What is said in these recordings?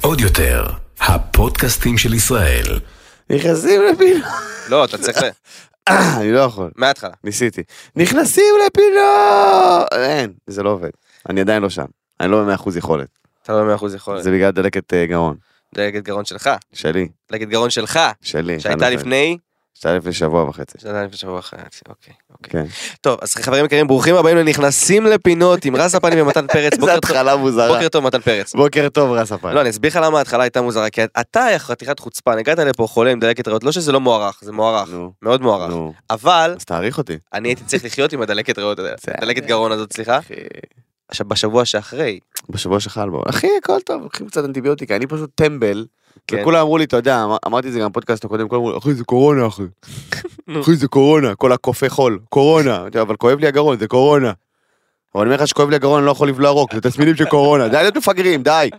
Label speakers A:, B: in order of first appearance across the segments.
A: עוד יותר, הפודקאסטים של ישראל.
B: נכנסים לפינות.
C: לא, אתה צריך... ל-
B: אה, אני לא יכול.
C: מההתחלה.
B: ניסיתי. נכנסים לפינות! אין, זה לא עובד. אני עדיין לא שם. אני לא ב-100% יכולת.
C: אתה לא במאה אחוז יכול.
B: זה בגלל דלקת אה, גרון.
C: דלגת גרון שלך.
B: שלי.
C: דלגת גרון שלך.
B: שלי. לא
C: שהייתה לפני...
B: שהייתה לפני שבוע וחצי.
C: שנתיים לפני שבוע אחרי. אוקיי. אוקיי.
B: כן.
C: טוב, אז חברים יקרים, ברוכים הבאים לנכנסים לפינות עם רז הפנים ומתן פרץ.
B: זו
C: בוקר טוב-
B: התחלה מוזרה.
C: בוקר טוב, מתן פרץ.
B: בוקר טוב, רס הפעם.
C: לא, אני אסביר לך למה ההתחלה הייתה מוזרה, כי אתה היה חתיכת חוצפן, הגעת לפה חולה עם דלקת ריאות, לא שזה לא מוערך, זה מוערך,
B: נו.
C: מאוד מוערך,
B: נו.
C: אבל
B: אז תעריך אותי.
C: אני הייתי צריך לחיות עם הדלקת ריאות,
B: בסדר.
C: הדלקת גרון הזאת, סליחה, עכשיו בשבוע שאחרי,
B: בשבוע שחל בו. אחי, הכל טוב, לוקחים קצת אנטיביוטיקה, אני פשוט טמבל.
C: כן.
B: וכולם אמרו לי, אתה יודע, אמר- אמרתי את זה גם בפודקאסט הקודם, כולם אמרו, לי, אחי, זה קורונה, אחי. אחי, זה קורונה, כל הקופי חול, קורונה. אמרתי, אבל כואב לי הגרון, זה קורונה. אבל אני אומר לך שכואב לי הגרון, אני לא יכול לבלוע רוק, זה תסמינים של קורונה. די להיות מפגרים, די.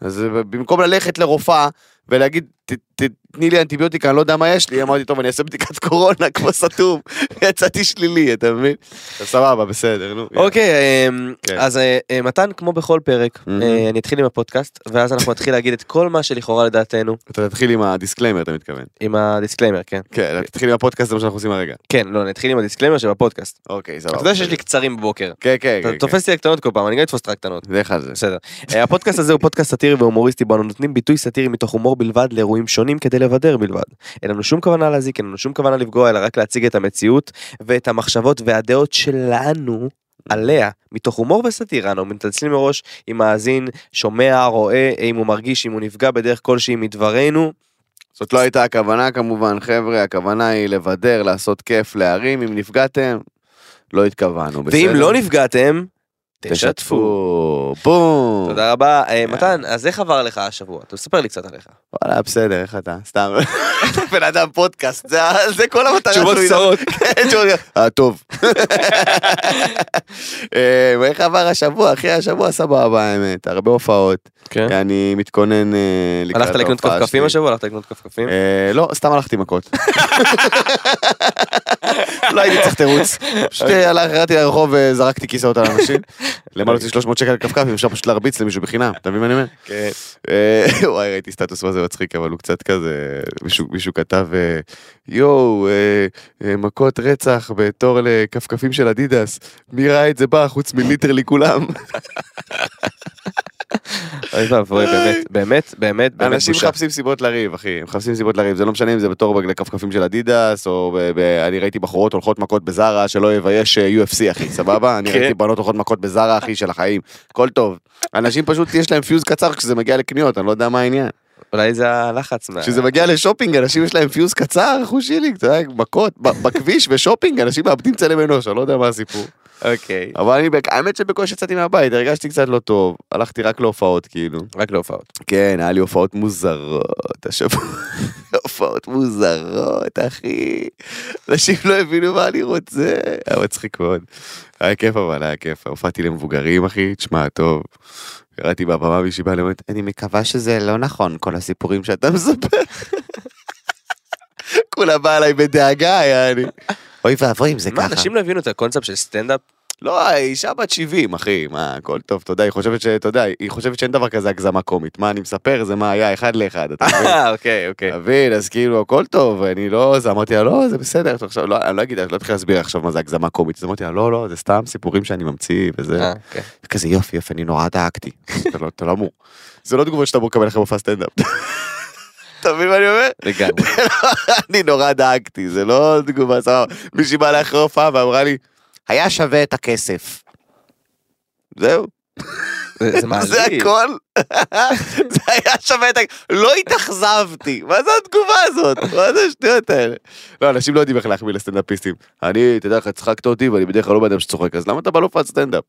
B: אז ב- במקום ללכת לרופאה ולהגיד, "ת- ת- תני לי אנטיביוטיקה, אני לא יודע מה יש לי, אמרתי, טוב, אני אעשה בדיקת קורונה, כמו סתום. יצאתי שלילי, אתה מבין? אז סבבה, בסדר, נו.
C: אוקיי, אמ,
B: כן.
C: אז אה, אה, מתן, כמו בכל פרק,
B: Mhm.
C: אה, אני אתחיל עם הפודקאסט, ואז אנחנו נתחיל להגיד את כל מה שלכאורה לדעתנו,
B: אתה תתחיל עם הדיסקליימר, אתה מתכוון.
C: עם הדיסקליימר, כן,
B: כן, תתחיל עם הפודקאסט, זה מה שאנחנו עושים הרגע.
C: כן, לא, נתחיל עם הדיסקליימר שבפודקאסט,
B: אוקיי, סבבה.
C: אתה יודע שיש לי קצרים בבוקר,
B: כן, כן,
C: אתה
B: כן.
C: תופס אותי לקטנות כל פעם, אני גם אתפוס אותך לקטנות.
B: כן. לך על זה.
C: בסדר. אה, הפודקאסט הזה הוא פודקאסט סאטירי והומוריסטי בו אנו נותנים ביטוי סאטירי מתוך הומור בלבד לאירועים שונים כדי לבדר בלבד. אין לנו שום כוונה להזיק, אין לנו שום כוונה לפגוע, אלא רק להציג את המציאות ואת המחשבות והדעות שלנו עליה. מתוך הומור וסאטירה אנו מתנצלים מראש אם מאזין, שומע, רואה, אם הוא מרגיש, אם הוא נפגע בדרך כלשהי מדברנו.
B: זאת לא הייתה הכוונה כמובן, חבר'ה, הכוונה היא לבדר, לעשות כיף, להרים, אם נפגעתם, לא התכוונו, בסדר?
C: ואם לא נפגעתם, תשתפו.
B: בום.
C: תודה רבה. אה, מתן, אז איך עבר לך השבוע? תספר לי קצת עליך.
B: וואלה, בסדר, איך אתה? סתם. בן אדם פודקאסט, זה ה- זה כל המטרה שלו.
C: תשובות קצרות.
B: תשובות קצרות. אה, טוב. אה, איך עבר השבוע, אחי? השבוע סבבה, האמת. הרבה הופעות.
C: כן. לא,
B: אני מתכונן אה, לקראת ההופעה
C: הלכת לקנות כפכפים
B: שלי.
C: השבוע? הלכת לקנות כפכפים?
B: אה, לא, סתם הלכתי מכות. לא הייתי צריך תירוץ. פשוט אה, הלך- ירדתי לרחוב וזרקתי כיסאות על אנשים. למה להוציא 300 שקל על כפכף אם אפשר פשוט להרביץ למישהו בחינם, אתה מבין מה אני אומר?
C: כן.
B: אה, וואי, ראיתי סטטוס מה זה מצחיק, אבל הוא קצת כזה, מישהו- מישהו כתב, אה, יואו, אה, אה, מכות רצח בתור לכפכפים של אדידס, מי ראה את זה בא חוץ מליטרלי כולם?
C: אוי ואבוי, באמת, באמת, באמת, באמת
B: אנשים
C: בושה.
B: מחפשים סיבות לריב, אחי, הם מחפשים סיבות לריב, זה לא משנה אם זה בתור לכפכפים של אדידס, או ב- ב- אני ראיתי בחורות הולכות מכות בזארה, שלא יבייש אה, UFC, אחי, סבבה? אני
C: כן.
B: ראיתי בנות הולכות מכות בזארה, אחי, של החיים, הכל טוב. אנשים פשוט, יש להם פיוז קצר כשזה מגיע לקניות, אני לא יודע מה העניין.
C: אולי זה הלחץ מה...
B: כשזה מגיע לשופינג, אנשים יש להם פיוז קצר, אחו שלי, אתה יודע, מכות, ב- בכביש, בשופינג, אנשים מאבדים צלם אנוש, אני לא יודע מה הסיפור.
C: אוקיי.
B: אבל אני, בק- האמת שבקושי יצאתי מהבית, הרגשתי קצת לא טוב, הלכתי רק להופעות, כאילו.
C: רק להופעות.
B: כן, היה לי הופעות מוזרות השבוע. הופעות מוזרות, אחי. אנשים לא הבינו מה אני רוצה. היה מצחיק מאוד. היה כיף אבל, היה כיף. הופעתי למבוגרים, אחי, תשמע, טוב. ירדתי מהבמה מישהי באה למטה, אני מקווה שזה לא נכון, כל הסיפורים שאתה מספר. כולה באה אליי בדאגה, יעני. אוי ואבוי אם זה
C: מה, אנשים לא הבינו את הקונספט של סטנדאפ?
B: לא, אישה בת 70, אחי, מה, הכל טוב, תודה, היא חושבת ש... אתה יודע, היא חושבת שאין דבר כזה הגזמה קומית. מה אני מספר, זה מה היה, אחד לאחד, אתה מבין?
C: אה, אוקיי, אוקיי.
B: אתה מבין, אז כאילו, הכל טוב, אני לא... זה, אמרתי לה, לא, זה בסדר, אתה עכשיו, לא, אני לא אגיד, אני לא אתחיל להסביר עכשיו מה זה הגזמה קומית. אז אמרתי לה, לא, לא, זה סתם סיפורים שאני ממציא, וזה...
C: אה, אוקיי.
B: כזה יופי, יופי, אני נורא דאגתי. אתה לא- אתה לא אמור. זה לא תגובות שאתה אמור לקבל אחרי מופע סטנדאפ. אתה מבין מה אני אומר?
C: לגמרי.
B: אני נורא דאגתי, זה לא תגובה סבבה. מישהי באה לאחרי הופעה ואמרה לי, היה שווה את הכסף. זהו,
C: זה- זה מעליב.
B: זה הכל. זה היה שווה את הכסף. לא התאכזבתי, מה זה התגובה הזאת? מה זה השטויות האלה? לא, אנשים לא יודעים איך להחמיא לסטנדאפיסטים. אני, תדע לך, צחקת אותי ואני בדרך כלל לא בן אדם שצוחק, אז למה אתה בא להופעת סטנדאפ?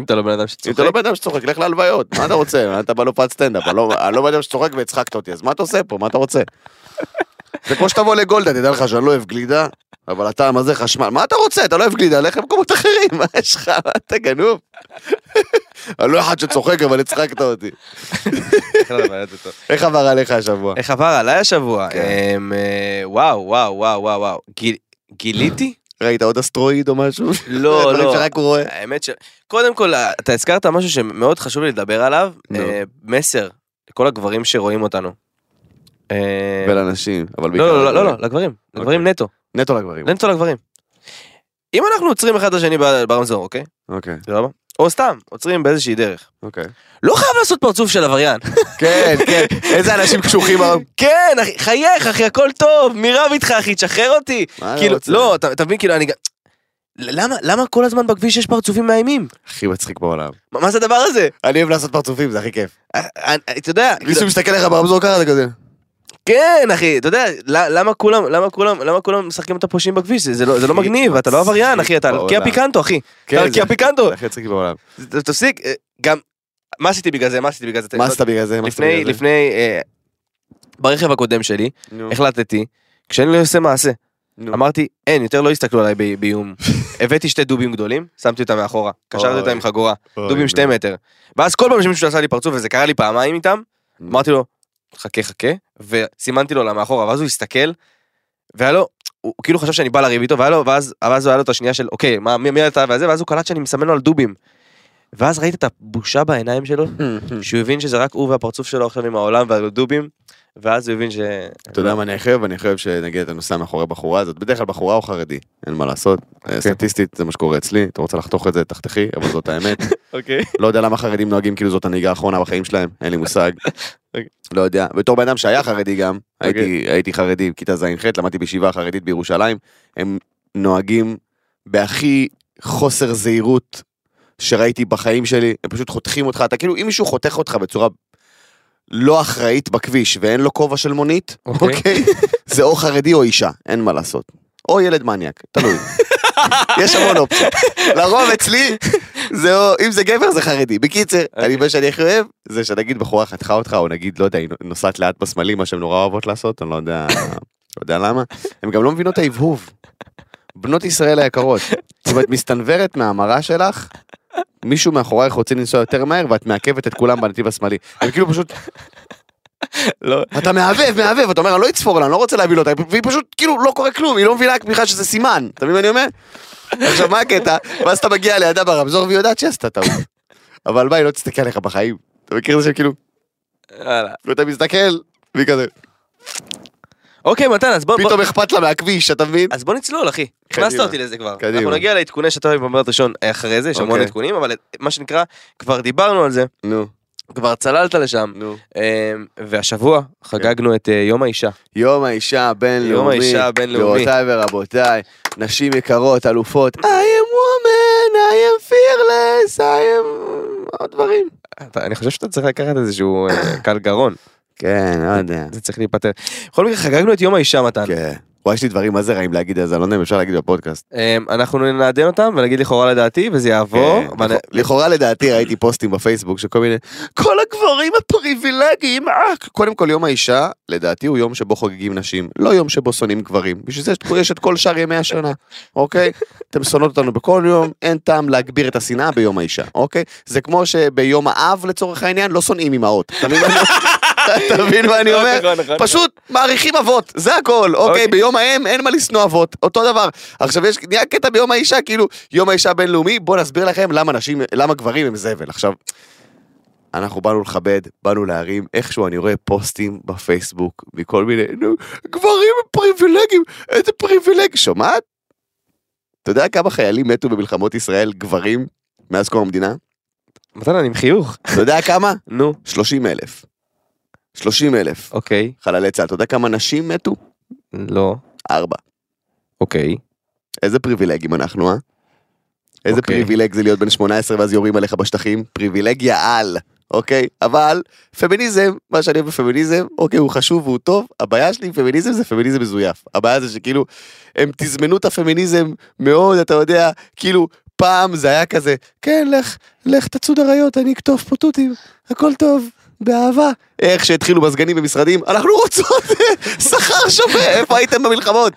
C: אם אתה לא בן אדם
B: אם אתה לא
C: שצוחק.
B: בן אדם שצוחק, לך להלוויות, מה אתה רוצה? אתה בא להופעת סטנדאפ, אני לא- אני לא בן אדם שצוחק והצחקת אותי, אז מה אתה עושה פה? מה אתה רוצה? זה כמו שתבוא לגולדה, תדע לך שאני לא אוהב גלידה, אבל הטעם הזה חשמל. מה אתה רוצה? אתה לא אוהב גלידה, לך למקומות אחרים, מה יש לך? מה, אתה גנוב? אני לא אחד שצוחק, אבל הצחקת אותי.
C: בכלל, לא אבל זה טוב.
B: איך עבר עליך השבוע?
C: איך עבר עליי השבוע?
B: כן.
C: אמ, אה, וואו, וואו, וואו, וואו, וואו. גיל- גיליתי
B: ראית עוד אסטרואיד או משהו?
C: לא,
B: דברים
C: לא.
B: שרק הוא רואה.
C: האמת ש... קודם כל, אה, אתה הזכרת משהו שמאוד חשוב לי לדבר עליו,
B: נו.
C: אה, מסר לכל הגברים שרואים אותנו. אה,
B: ולאנשים, אבל בעיקר...
C: לא, לא, לא, לא,
B: לגברים. אוקיי.
C: לא, לגברים, לגברים נטו,
B: נטו לגברים.
C: נטו לגברים. אם אנחנו עוצרים אחד את השני ב- ברמזור, אוקיי?
B: אוקיי,
C: סבבה? או סתם, עוצרים באיזושהי דרך.
B: אוקיי.
C: לא חייב לעשות פרצוף של עבריין.
B: כן, כן, איזה אנשים קשוחים. אבל-
C: כן, אחי, חייך, אחי, הכל טוב, מי רב איתך, אחי, תשחרר אותי.
B: מה אתה
C: כאילו,
B: רוצה?
C: לא, אתה אתה מבין, כאילו, אני גם... למה, למה כל הזמן בכביש יש פרצופים מאיימים?
B: הכי מצחיק בעולם.
C: מה מה זה הדבר הזה?
B: אני אוהב לעשות פרצופים, זה הכי כיף.
C: אה, אה, אתה יודע, כאילו-
B: מישהו מסתכל לך ברמזור ככה, זה כזה.
C: כן, אחי, אתה יודע, ל- למה כולם, למה כולם, למה כולם משחקים את הפושעים בכביש? זה- זה לא זה לא
B: הכי
C: מגניב, אתה לא עבריין, אחי, אתה על
B: בעולם.
C: קיה פיקנטו, אחי.
B: כן,
C: אתה על
B: זה-
C: קיה פיקנטו.
B: זה הכי מצחיק בעולם.
C: ת- תפסיק, אה, גם... מה עשיתי בגלל זה? מה עשיתי בגלל זה?
B: מה עשית בגלל זה? מה עשית
C: לפני,
B: בגלל זה?
C: לפני, אה, ברכב הקודם שלי,
B: נו,
C: החלטתי, כשאני לא עושה מעשה,
B: נו.
C: אמרתי, אין, יותר לא יסתכלו עליי ב- באיום. הבאתי שתי דובים גדולים, שמתי אותם מאחורה, קשרתי
B: אוי.
C: אותם עם חגורה,
B: אוי,
C: דובים
B: נו.
C: שתי מטר. ואז כל פעם שמישהו עשה לי פרצוף, וזה קרה לי פעמיים איתם,
B: נו.
C: אמרתי לו, חכה חכה, וסימנתי לו למאחורה, ואז הוא הסתכל, והיה לו, הוא הוא כאילו חשב שאני בא לריב איתו, והיה לו, ואז, ואז היה לו את השנייה של, אוקיי, מה, מי, מי אתה וזה, ואז הוא קלט שאני מסמן לו על דובים. ואז ראית את הבושה בעיניים שלו,
B: Mm-hmm.
C: שהוא הבין שזה רק הוא והפרצוף שלו עכשיו עם העולם והדובים, ואז הוא הבין ש...
B: אתה יודע מה אני הכי אוהב? אני הכי אוהב שנגיד אתה נוסע מאחורי בחורה הזאת, בדרך כלל בחורה או חרדי, אין מה לעשות. אה, סטטיסטית זה מה שקורה אצלי, אתה רוצה לחתוך את זה, תחתכי, אבל זאת האמת.
C: אוקיי.
B: לא יודע למה חרדים נוהגים כאילו זאת הנהיגה האחרונה בחיים שלהם, אין לי מושג. לא יודע. בתור בן אדם שהיה חרדי גם,
C: אוקיי.
B: הייתי- הייתי חרדי בכיתה ז'-ח', למדתי בישיבה החרדית בירושלים, הם נוהגים בהכי חוסר זהירות שראיתי בחיים שלי, הם פשוט חותכים אותך, אתה כאילו, אם מישהו חותך אותך בצורה לא אחראית בכביש ואין לו כובע של מונית,
C: אוקיי.
B: אוקיי? זה או חרדי או אישה, אין מה לעשות. או ילד מניאק, תלוי. יש המון אופציות. לרוב אצלי, זה או, אם זה גבר זה חרדי. בקיצר, אני מה שאני הכי אוהב, זה שנגיד בחורה חתכה אותך, או נגיד, לא יודע, היא נוסעת לאט בסמלים, מה שהן נורא אוהבות לעשות, אני לא יודע, לא יודע למה. הן גם לא מבינות את ההבהוב. בנות ישראל היקרות, אם את מסתנוורת מהמראה שלך, מישהו מאחורייך רוצה לנסוע יותר מהר ואת מעכבת את כולם בנתיב השמאלי. הם כאילו פשוט,
C: לא,
B: אתה מהבהב, מהבהב, אתה אומר, אני לא אצפור לה, אני לא רוצה להביא לו אותה, והיא פשוט כאילו לא קורה כלום, היא לא מבינה בכלל שזה סימן, אתה מבין מה אני אומר? עכשיו, מה הקטע? ואז אתה מגיע לידה ברמזור והיא יודעת שהיא עשתה טעות. אבל מה, היא לא תסתכל עליך בחיים. אתה מכיר את זה שכאילו,
C: יאללה.
B: ואתה מסתכל, והיא כזה,
C: אוקיי, מתן, אז בוא... בוא-
B: פתאום אכפת לה מהכביש, אתה מבין?
C: אז בוא נצלול אחי, הכנסת
B: קדימה.
C: אותי לזה כבר.
B: קדימה.
C: אנחנו נגיע לעדכוני שאתה אוהב במרד ראשון אה, אחרי זה, יש המון
B: אוקיי.
C: עדכונים, אבל מה שנקרא, כבר דיברנו על זה,
B: נו,
C: כבר צללת לשם,
B: נו.
C: אה, והשבוע חגגנו את אה, יום האישה.
B: יום האישה הבינלאומי.
C: יום האישה הבינלאומי.
B: גבירותיי ורבותיי, נשים יקרות, אלופות, I am woman, I am fearless, I am... עוד דברים.
C: אתה- אני חושב שאתה צריך לקחת איזשהו אה, קל גרון,
B: כן, לא יודע.
C: זה צריך להיפתר. בכל מקרה, חגגנו את יום האישה, מתן.
B: כן. וואי, יש לי דברים מה זה רעים להגיד, אז אני לא יודע אם אפשר להגיד בפודקאסט.
C: אה, אנחנו נעדן אותם ונגיד לכאורה לדעתי, וזה יעבור.
B: כן.
C: ואני-
B: לכאורה לדעתי ראיתי פוסטים בפייסבוק שכל מיני, כל הגברים הפריבילגיים, אה, קודם כל יום האישה, לדעתי הוא יום שבו חוגגים נשים, לא יום שבו שונאים גברים. בשביל זה יש- יש את כל שאר ימי השנה, אוקיי? אתם שונאות אותנו בכל יום, אין טעם להגביר את השנאה ביום האישה, אוקיי? זה כמו שביום האב לצורך העניין לא שונאים אמהות. אתה מבין מה אני- אתה מבין מה אני אומר?
C: נכון, נכון.
B: פשוט מעריכים אבות, זה הכל,
C: אוקיי.
B: אוקיי? ביום האם אין מה לשנוא אבות, אותו דבר. עכשיו יש, נהיה קטע ביום האישה, כאילו, יום האישה הבינלאומי, בואו נסביר לכם למה נשים, למה גברים הם זבל. עכשיו, אנחנו באנו לכבד, באנו להרים, איכשהו אני רואה פוסטים בפייסבוק מכל מיני, נו, גברים הם פריבילגים, איזה פריבילג, שומעת? אתה יודע כמה חיילים מתו במלחמות ישראל, גברים, מאז קום המדינה?
C: מתן, אני עם חיוך.
B: אתה יודע כמה?
C: נו,
B: 30 אלף. 30 אלף
C: אוקיי.
B: חללי צה"ל. אתה יודע כמה נשים מתו?
C: לא.
B: ארבע.
C: אוקיי.
B: איזה פריבילגים אנחנו, אה? איזה
C: אוקיי.
B: פריבילג זה להיות בן 18 ואז יורים עליך בשטחים? פריבילגיה על, אוקיי? אבל פמיניזם, מה שאני אוהב בפמיניזם, אוקיי, הוא חשוב והוא טוב, הבעיה שלי עם פמיניזם זה פמיניזם מזויף. הבעיה זה שכאילו, הם תזמנו את הפמיניזם מאוד, אתה יודע, כאילו, פעם זה היה כזה, כן, לך, לך תצוד אריות, אני אקטוף פה תותים, הכל טוב. באהבה. איך שהתחילו מזגנים במשרדים, אנחנו רוצות שכר שווה, איפה הייתם במלחמות?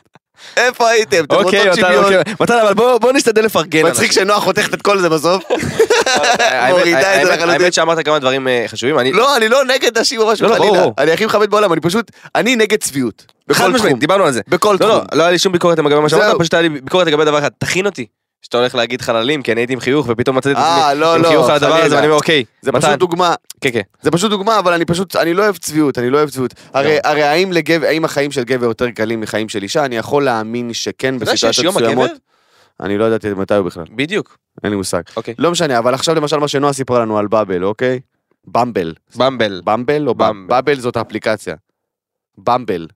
B: איפה הייתם? אתם רוצות
C: אוקיי, מתן,
B: שוויון? כן,
C: אוקיי. מתן, אבל בוא בוא נשתדל לפרגן.
B: מצחיק שנועה חותכת את כל זה בסוף.
C: האמת-
B: מורידה את זה
C: האמת-
B: לחלוטין.
C: האמת שאמרת כמה דברים אה, חשובים. אני-
B: לא, אני לא נגד נשים או משהו
C: לא, לא,
B: חלילה.
C: ברור.
B: אני הכי מכבד בעולם, אני פשוט, אני נגד צביעות.
C: חד
B: בכל
C: משמעית,
B: תחום.
C: דיברנו על זה.
B: בכל
C: לא, לא,
B: תחום.
C: לא היה לי שום ביקורת לגבי מה שאמרת,
B: זהו.
C: פשוט היה לי ביקורת לגבי דבר אחד, תכין אותי. שאתה הולך להגיד חללים, כי אני הייתי עם חיוך, ופתאום מצאתי את
B: אה,
C: עצמי
B: לא,
C: עם
B: לא,
C: חיוך על הדבר הזה,
B: חלילה.
C: ואני אומר, אוקיי,
B: זה
C: מתן,
B: פשוט דוגמה,
C: כן, כן.
B: זה פשוט דוגמה, אבל אני פשוט, אני לא אוהב צביעות, אני לא אוהב צביעות. הרי הרי האם לגבר- האם החיים של גבר יותר קלים מחיים של אישה? אני יכול להאמין שכן
C: אתה יודע שיש
B: בסיטואציות
C: יום הגבר?
B: מסוימות. אני לא ידעתי מתי הוא בכלל,
C: בדיוק,
B: אין לי מושג.
C: אוקיי.
B: לא משנה, אבל עכשיו למשל מה שנועה סיפרה לנו על באבל, אוקיי? במבל.
C: במבל.
B: במבל או
C: במבל.
B: במבל? במבל זאת האפליקציה. במבל.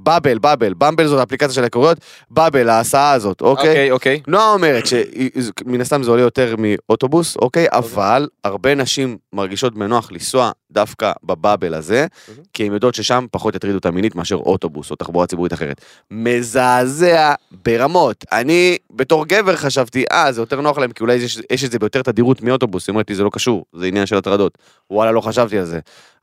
B: באבל, באבל. במבל זאת האפליקציה של הקוריאות. באבל, ההסעה הזאת, אוקיי?
C: אוקיי, אוקיי.
B: נועה אומרת שמן הסתם זה עולה יותר מאוטובוס, אוקיי? אבל הרבה נשים מרגישות בנוח לנסוע דווקא בבאבל הזה,
C: אוקיי.
B: כי הן יודעות ששם פחות יטרידו אותה מינית מאשר אוטובוס או תחבורה ציבורית אחרת. מזעזע ברמות. אני בתור גבר חשבתי, אה, זה יותר נוח להם, כי אולי יש, יש את זה ביותר תדירות מאוטובוס. היא אומרת לי, זה לא קשור, זה עניין של הטרדות. וואלה, לא חשבתי על זה.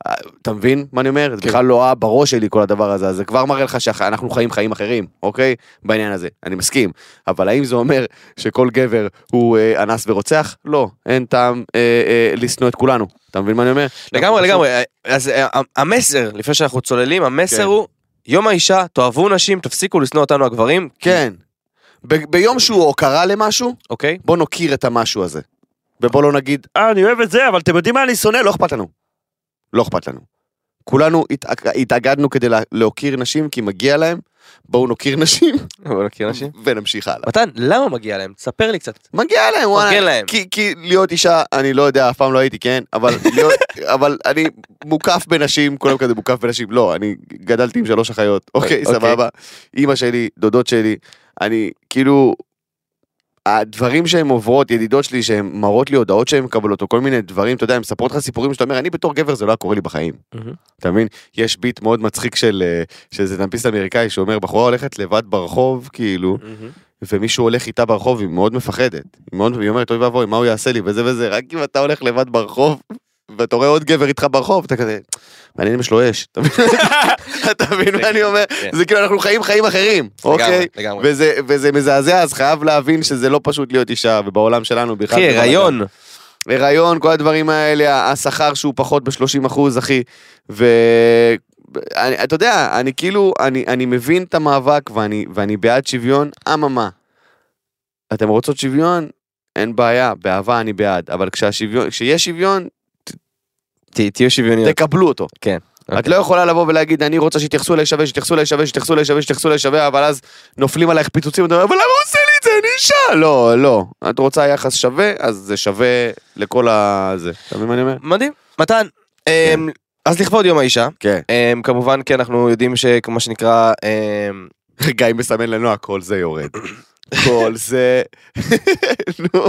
B: אה, אתה מבין מה אני אומר? זה
C: כן.
B: בכלל לא היה בראש שלי כל הדבר הזה, אז זה כבר מראה לך שאנחנו חיים חיים אחרים, אוקיי? בעניין הזה, אני מסכים. אבל האם זה אומר שכל גבר הוא אה, אנס ורוצח? לא, אין טעם אה, אה, לשנוא את כולנו. אתה מבין מה אני אומר?
C: לגמרי, לגמרי. אז אה, המסר, לפני שאנחנו צוללים, המסר
B: כן.
C: הוא, יום האישה, תאהבו נשים, תפסיקו לשנוא אותנו הגברים,
B: כן. ב- ביום שהוא הוקרה למשהו,
C: אוקיי?
B: בוא נוקיר את המשהו הזה. ובוא לא נגיד, אה, אני אוהב את זה, אבל אתם יודעים מה אני שונא? לא אכפת לנו. לא אכפת לנו. כולנו התאג- התאגדנו כדי לה- להוקיר נשים, כי מגיע להם. בואו נוקיר לא נשים,
C: בוא נכיר נשים.
B: ונמשיך הלאה.
C: מתן, למה מגיע להם? תספר לי קצת.
B: מגיע להם,
C: מגיע
B: וואלה.
C: להם.
B: כי, כי להיות אישה, אני לא יודע, אף פעם לא הייתי, כן? אבל, להיות, אבל אני מוקף בנשים, כולם כזה מוקף בנשים. לא, אני גדלתי עם שלוש אחיות, אוקיי,
C: אוקיי.
B: סבבה. אימא שלי, דודות שלי, אני כאילו... הדברים שהן עוברות, ידידות שלי, שהן מראות לי הודעות שהן מקבלות, או כל מיני דברים, אתה יודע, הן מספרות לך סיפורים שאתה אומר, אני בתור גבר זה לא היה קורה לי בחיים. אתה מבין? יש ביט מאוד מצחיק של אה, של איזה טמפיסט אמריקאי שאומר, בחורה הולכת לבד ברחוב, כאילו, ומישהו הולך איתה ברחוב, היא מאוד מפחדת. היא, מאוד, היא אומרת, אוי ואבוי, מה הוא יעשה לי, וזה וזה, רק אם אתה הולך לבד ברחוב, ואתה רואה עוד גבר איתך ברחוב, אתה כזה, מעניין אם יש לו אש. אתה מבין? אתה מבין מה אני אומר?
C: כן.
B: זה כאילו, אנחנו חיים חיים אחרים,
C: לגמרי,
B: אוקיי?
C: לגמרי.
B: וזה, וזה מזעזע, אז חייב להבין שזה לא פשוט להיות אישה, ובעולם שלנו בכלל...
C: אחי,
B: זה לא בלאגן.
C: הריון.
B: הריון, כל הדברים האלה, השכר שהוא פחות ב-30 אחוז, אחי. ו... אני, אתה יודע, אני כאילו, אני, אני מבין את המאבק ואני, ואני בעד שוויון, אממה. אתם רוצות שוויון? אין בעיה, באהבה אני בעד, אבל כשהשוויון, כשיש שוויון,
C: ת- תהיו שוויוניות.
B: תקבלו אותו. את
C: כן. אוקיי.
B: לא יכולה לבוא ולהגיד, אני רוצה שיתייחסו אליי שווה, שיתייחסו אליי שווה, שיתייחסו אליי שווה, שיתייחסו אליי שווה, אבל אז נופלים עלייך פיצוצים, ואתה אומר, אבל למה הוא עושה לי את זה, אני אישה? לא, לא. את רוצה יחס שווה, אז זה שווה לכל ה... זה. אתה מבין מה אני אומר?
C: מדהים. מתן, אמ, אז לכבוד יום האישה,
B: כן.
C: אמ, כמובן כי אנחנו יודעים שכמו שנקרא, אמ,
B: גיא מסמן לנו, הכל זה יורד. כל זה... נו.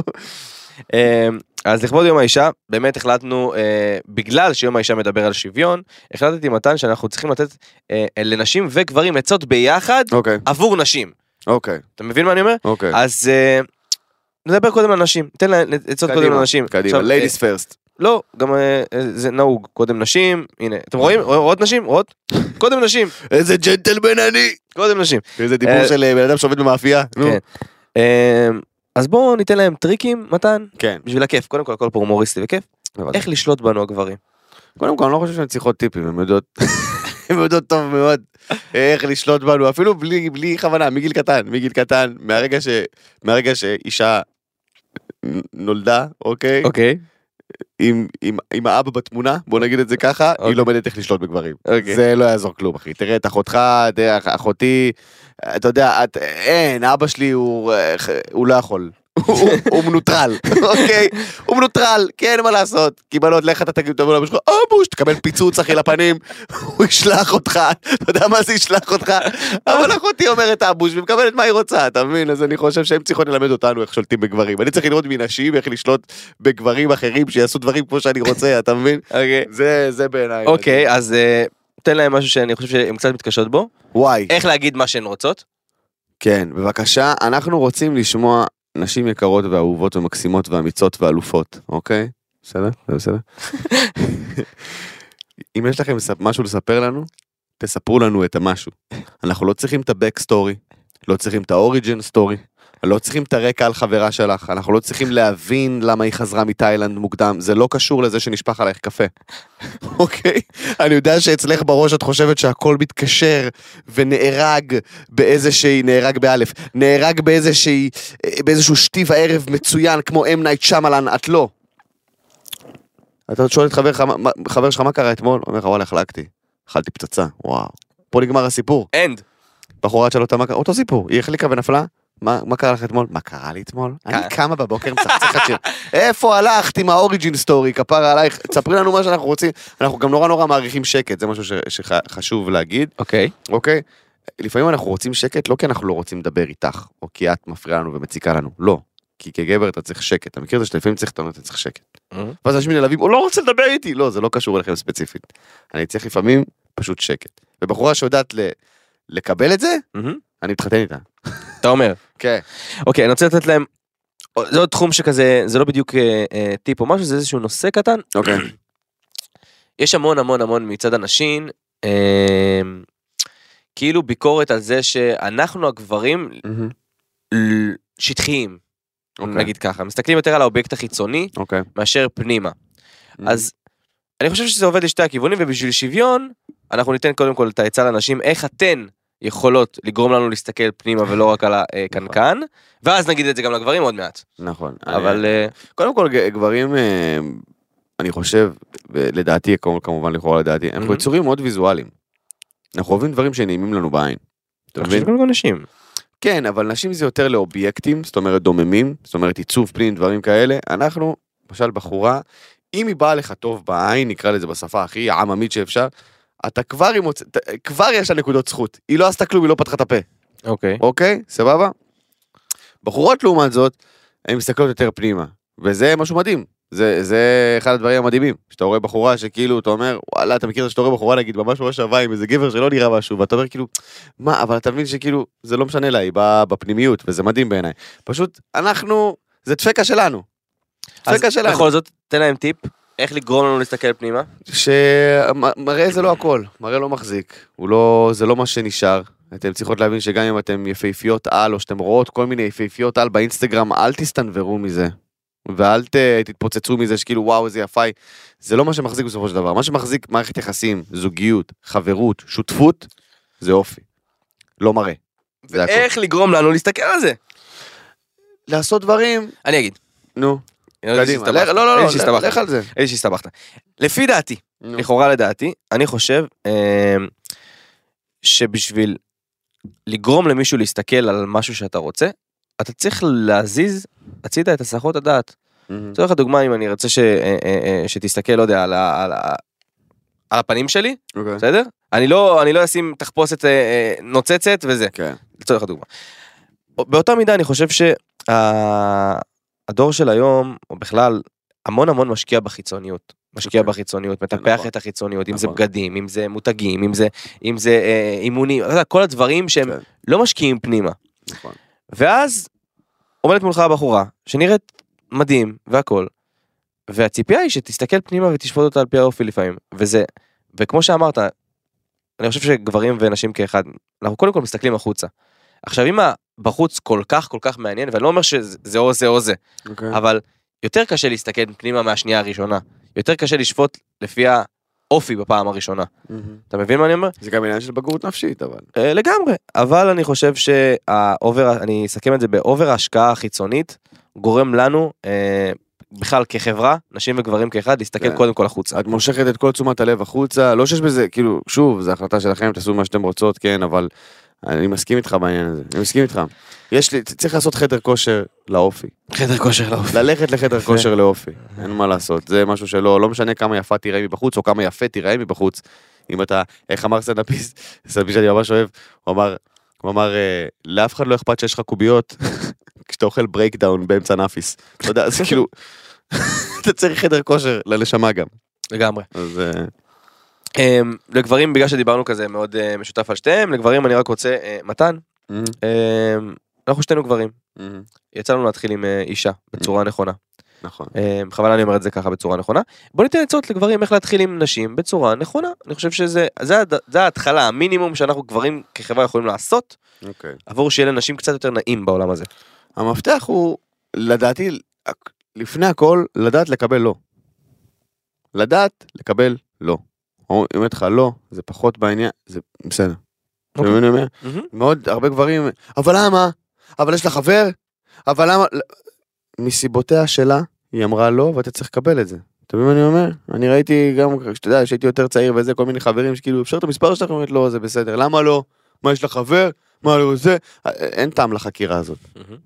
C: אמ, אז לכבוד יום האישה, באמת החלטנו, אה, בגלל שיום האישה מדבר על שוויון, החלטתי מתן שאנחנו צריכים לתת אה, לנשים וגברים עצות ביחד
B: אוקיי,
C: עבור נשים.
B: אוקיי,
C: אתה מבין מה אני אומר?
B: אוקיי.
C: אז אה, נדבר קודם על נשים, ניתן לה- עצות קודם
B: קדימה,
C: לנשים.
B: קדימה,
C: עכשיו, אה,
B: ladies first.
C: לא, גם אה, אה, זה נהוג, קודם נשים, הנה, אתם רואים? רואות נשים? רואות? קודם נשים,
B: איזה ג'נטלמן אני!
C: קודם נשים.
B: איזה דיבור
C: אה,
B: של אה, בן אדם שעובד במאפייה. נו.
C: כן. אה, אז בואו ניתן להם טריקים, מתן,
B: כן.
C: בשביל הכיף, קודם כל הכל פה הומוריסטי וכיף,
B: בוודאי.
C: איך לשלוט בנו הגברים.
B: קודם כל, אני לא חושב שהן צריכות טיפים, הן יודעות. הן יודעות טוב מאוד איך לשלוט בנו, אפילו בלי, בלי כוונה, מגיל קטן, מגיל קטן, מהרגע, ש, מהרגע שאישה נולדה, אוקיי?
C: אוקיי.
B: עם, עם, עם האבא בתמונה, בוא נגיד את זה ככה,
C: אוקיי.
B: היא לומדת איך לשלוט בגברים.
C: אוקיי.
B: זה לא יעזור כלום, אחי. תראה את אחותך, תראה, אח- אחותי, אתה יודע, את, אין, אבא שלי הוא, אה, הוא לא יכול. הוא, הוא מנוטרל, אוקיי? הוא מנוטרל, כי אין מה לעשות. כי בנות, לך אתה תגיד, תבוא לאבא שלך, או בוש, תקבל פיצוץ, אחי, לפנים, הוא ישלח אותך, אתה יודע מה זה ישלח אותך? אבל אחותי אומרת אבוש ומקבלת מה היא רוצה, אתה מבין? אז אני חושב שהן צריכות ללמד אותנו איך שולטים בגברים. אני צריך ללמוד מנשים איך לשלוט בגברים אחרים שיעשו דברים כמו שאני רוצה, אתה מבין?
C: אוקיי.
B: זה, זה בעיניי.
C: אוקיי, אז אה, תן להם משהו שאני חושב שהן קצת מתקשות בו,
B: וואי.
C: איך להגיד מה שהן רוצות.
B: כן, בבקשה, אנחנו רוצים לשמוע נשים יקרות ואהובות ומקסימות ואמיצות ואלופות, אוקיי? בסדר? זה בסדר? אם יש לכם ספ- משהו לספר לנו, תספרו לנו את המשהו. אנחנו לא צריכים את ה-Back story, לא צריכים את האוריג'ן סטורי, לא צריכים את הרקע על חברה שלך, אנחנו לא צריכים להבין למה היא חזרה מתאילנד מוקדם, זה לא קשור לזה שנשפך עלייך קפה. אוקיי? אני יודע שאצלך בראש את חושבת שהכל מתקשר ונהרג באיזושהי, נהרג באלף, נהרג באיזושהי, אה, באיזשהו שתי וערב מצוין כמו אם נייט שמלן, את לא. אתה עוד שואל את חבר, שלך, "מה- מה- חבר שלך מה קרה אתמול, הוא אומר לך וואלה החלקתי, אכלתי פצצה, וואו. פה נגמר הסיפור.
C: אנד.
B: בחורה תשאל אותה מה קרה, אותו סיפור, היא החליקה ונפלה, מה, מה קרה לך אתמול? מה קרה לי אתמול? אני קמה בבוקר מצחצחת שיר, איפה הלכת עם האוריג'ין סטורי, כפרה עלייך, תספרי לנו מה שאנחנו רוצים, אנחנו גם נורא נורא מעריכים שקט, זה משהו ש- שחשוב להגיד,
C: אוקיי.
B: אוקיי? לפעמים אנחנו רוצים שקט לא כי אנחנו לא רוצים לדבר איתך, או כי את מפריעה לנו ומציקה לנו, לא. כי כגבר אתה צריך שקט, אתה מכיר את זה שלפעמים צריך, אתה אומר, אתה צריך שקט. ואז אנשים נעלבים, הוא לא רוצה לדבר איתי. לא, זה לא קשור אליכם ספציפית. אני צריך לפעמים פשוט שקט. ובחורה שיודעת ל- לקבל את זה,
C: מהמם.
B: אני מתחתן איתה.
C: Mm-hmm. אתה אומר.
B: כן.
C: אוקיי, אני רוצה לתת להם... זה עוד תחום שכזה, זה לא בדיוק אה, אה, טיפ או משהו, זה איזשהו נושא קטן.
B: אוקיי.
C: יש המון המון המון מצד אנשים, אה, כאילו ביקורת על זה שאנחנו הגברים ל- שטחיים,
B: אוקיי.
C: נגיד ככה, מסתכלים יותר על האובייקט החיצוני
B: אוקיי.
C: מאשר פנימה.
B: Mm-hmm.
C: אז אני חושב שזה עובד לשתי הכיוונים, ובשביל שוויון, אנחנו ניתן קודם כל את העצה לאנשים, איך אתן יכולות לגרום לנו להסתכל פנימה ולא רק על הקנקן, ואז נגיד את זה גם לגברים עוד מעט.
B: נכון. אבל
C: אבל אה,
B: קודם כל ג- גברים, אה, אני חושב, לדעתי, כמובן לכאורה לדעתי, אנחנו
C: מהמם.
B: יצורים מאוד ויזואליים. אנחנו אוהבים דברים שנעימים לנו בעין. אתה
C: אני
B: מבין?
C: חושב שגם נשים.
B: כן, אבל נשים זה יותר לאובייקטים, זאת אומרת דוממים, זאת אומרת עיצוב פנים, דברים כאלה. אנחנו, למשל בחורה, אם היא באה לך טוב בעין, נקרא לזה בשפה הכי עממית שאפשר, אתה כבר, היא מוצ... ת- כבר יש לה נקודות זכות. היא לא עשתה כלום, היא לא פתחה את הפה,
C: אוקיי.
B: אוקיי? סבבה? בחורות לעומת זאת, הן מסתכלות יותר פנימה, וזה משהו מדהים. זה, זה אחד הדברים המדהימים, שאתה רואה בחורה שכאילו, אתה אומר, וואלה, אתה מכיר את זה שאתה רואה בחורה, נגיד, ממש ממש שווה עם איזה גבר שלא נראה משהו, ואתה אומר כאילו, מה, אבל אתה מבין שכאילו, זה לא משנה לה, היא באה בפנימיות, וזה מדהים בעיניי. פשוט, אנחנו, זה דפקה שלנו.
C: אז
B: דפקה שלנו.
C: בכל זאת, תן להם טיפ, איך לגרום לנו להסתכל פנימה.
B: שמראה זה לא הכל, מראה לא מחזיק, הוא לא, זה לא מה שנשאר. אתם צריכות להבין שגם אם אתם יפהפיות על, או שאתם רואות כל מיני יפהפיות על באינסטגרם, אל תסתנוורו מזה. ואל ת, תתפוצצו מזה שכאילו וואו איזה יפה היא. זה לא מה שמחזיק בסופו של דבר. מה שמחזיק מערכת יחסים, זוגיות, חברות, שותפות, זה אופי. לא מראה. זה הכל.
C: איך לגרום לנו להסתכל על זה?
B: לעשות דברים,
C: אני אגיד.
B: נו,
C: אין לי
B: קדימה.
C: שהסתבכת.
B: לך- לא, לא,
C: אין לי
B: לא, לך-
C: שהסתבכת.
B: לך על זה.
C: אין לי שהסתבכת. לפי דעתי,
B: נו.
C: לכאורה לדעתי, אני חושב אה, שבשביל לגרום למישהו להסתכל על משהו שאתה רוצה, אתה צריך להזיז הצידה את הסחות הדעת.
B: מהמם.
C: לצורך הדוגמה, אם אני רוצה ש, אה, אה, אה, שתסתכל, לא יודע, על, ה, על, ה, על הפנים שלי,
B: אוקיי.
C: בסדר? אני לא, אני לא אשים תחפושת אה, אה, נוצצת וזה.
B: כן.
C: לצורך הדוגמה. באותה מידה אני חושב שהדור של היום, או בכלל, המון המון משקיע בחיצוניות. משקיע
B: אוקיי.
C: בחיצוניות, מטפח
B: נכון.
C: את החיצוניות, אם זה
B: נכון.
C: בגדים, אם זה מותגים, אם זה, אם זה אה, אימונים, אתה יודע, כל הדברים שהם
B: כן,
C: לא משקיעים פנימה.
B: נכון.
C: ואז עומדת מולך הבחורה, שנראית מדהים והכל, והציפייה היא שתסתכל פנימה ותשפוט אותה על פי האופי לפעמים, וזה, וכמו שאמרת, אני חושב שגברים ונשים כאחד, אנחנו קודם כל מסתכלים החוצה. עכשיו אם בחוץ כל כך כל כך מעניין, ואני לא אומר שזה זה או זה או זה,
B: אוקיי.
C: אבל יותר קשה להסתכל פנימה מהשנייה הראשונה. יותר קשה לשפוט לפי האופי בפעם הראשונה.
B: מהמם.
C: אתה מבין מה אני אומר?
B: זה גם עניין של בגרות נפשית, אבל.
C: אה, לגמרי, אבל אני חושב שהאובר, אני אסכם את זה באובר ההשקעה החיצונית, גורם לנו, אה, בכלל כחברה, נשים וגברים כאחד, להסתכל
B: כן.
C: קודם כל החוצה.
B: את מושכת את כל תשומת הלב החוצה, לא שיש בזה, כאילו, שוב, זו החלטה שלכם, תעשו מה שאתם רוצות, כן, אבל אני מסכים איתך בעניין הזה, אני מסכים איתך. יש לי, צריך לעשות חדר כושר לאופי.
C: חדר כושר לעוף.
B: ללכת לחדר
C: יפה.
B: כושר לאופי, אין מה לעשות, זה משהו שלא, לא משנה כמה יפה תיראה מבחוץ, או כמה יפה תיראה מבחוץ. אם אתה, איך אמר סטנדאפיסט, סטנדאפיסט שאני ממש אוהב, הוא אמר, הוא אמר, אה, לאף אחד לא אכפת שיש לך קוביות כשאתה אוכל ברייקדאון באמצע נאפיס. אתה יודע, זה כאילו, אתה צריך חדר כושר לנשמה גם.
C: לגמרי.
B: אז... אה,
C: אה, לגברים, בגלל שדיברנו כזה מאוד אה, משותף על שתיהם, לגברים אני רק רוצה, אה, מתן, אמ,
B: Mm.
C: אה, אנחנו שתינו גברים, יצא לנו להתחיל עם אה, אישה בצורה נכונה.
B: נכון.
C: אה, בכוונה אני אומר את זה ככה בצורה נכונה. בוא ניתן עצות לגברים איך להתחיל עם נשים בצורה נכונה. אני חושב שזה זה, הד- זה ההתחלה, המינימום שאנחנו גברים כחברה יכולים לעשות,
B: אוקיי.
C: עבור שיהיה לנשים קצת יותר נעים בעולם הזה.
B: המפתח הוא, לדעתי, לפני הכל, לדעת לקבל לא. לדעת לקבל לא. או- אומרת לך לא, זה פחות בעניין, זה בסדר. אתה
C: אוקיי.
B: מבין מה אני אומר? מאוד הרבה גברים, אבל למה? אבל יש לה חבר? אבל למה? לא, מסיבותיה שלה, היא אמרה לא, ואתה צריך לקבל את זה. אתה מבין מה אני אומר? אני ראיתי גם, שאתה יודע, כשהייתי יותר צעיר וזה, כל מיני חברים שכאילו, אפשר את המספר שלך? אומרת, לא, זה בסדר. למה לא? מה יש לך חבר? מה לא זה? א- אין טעם לחקירה הזאת.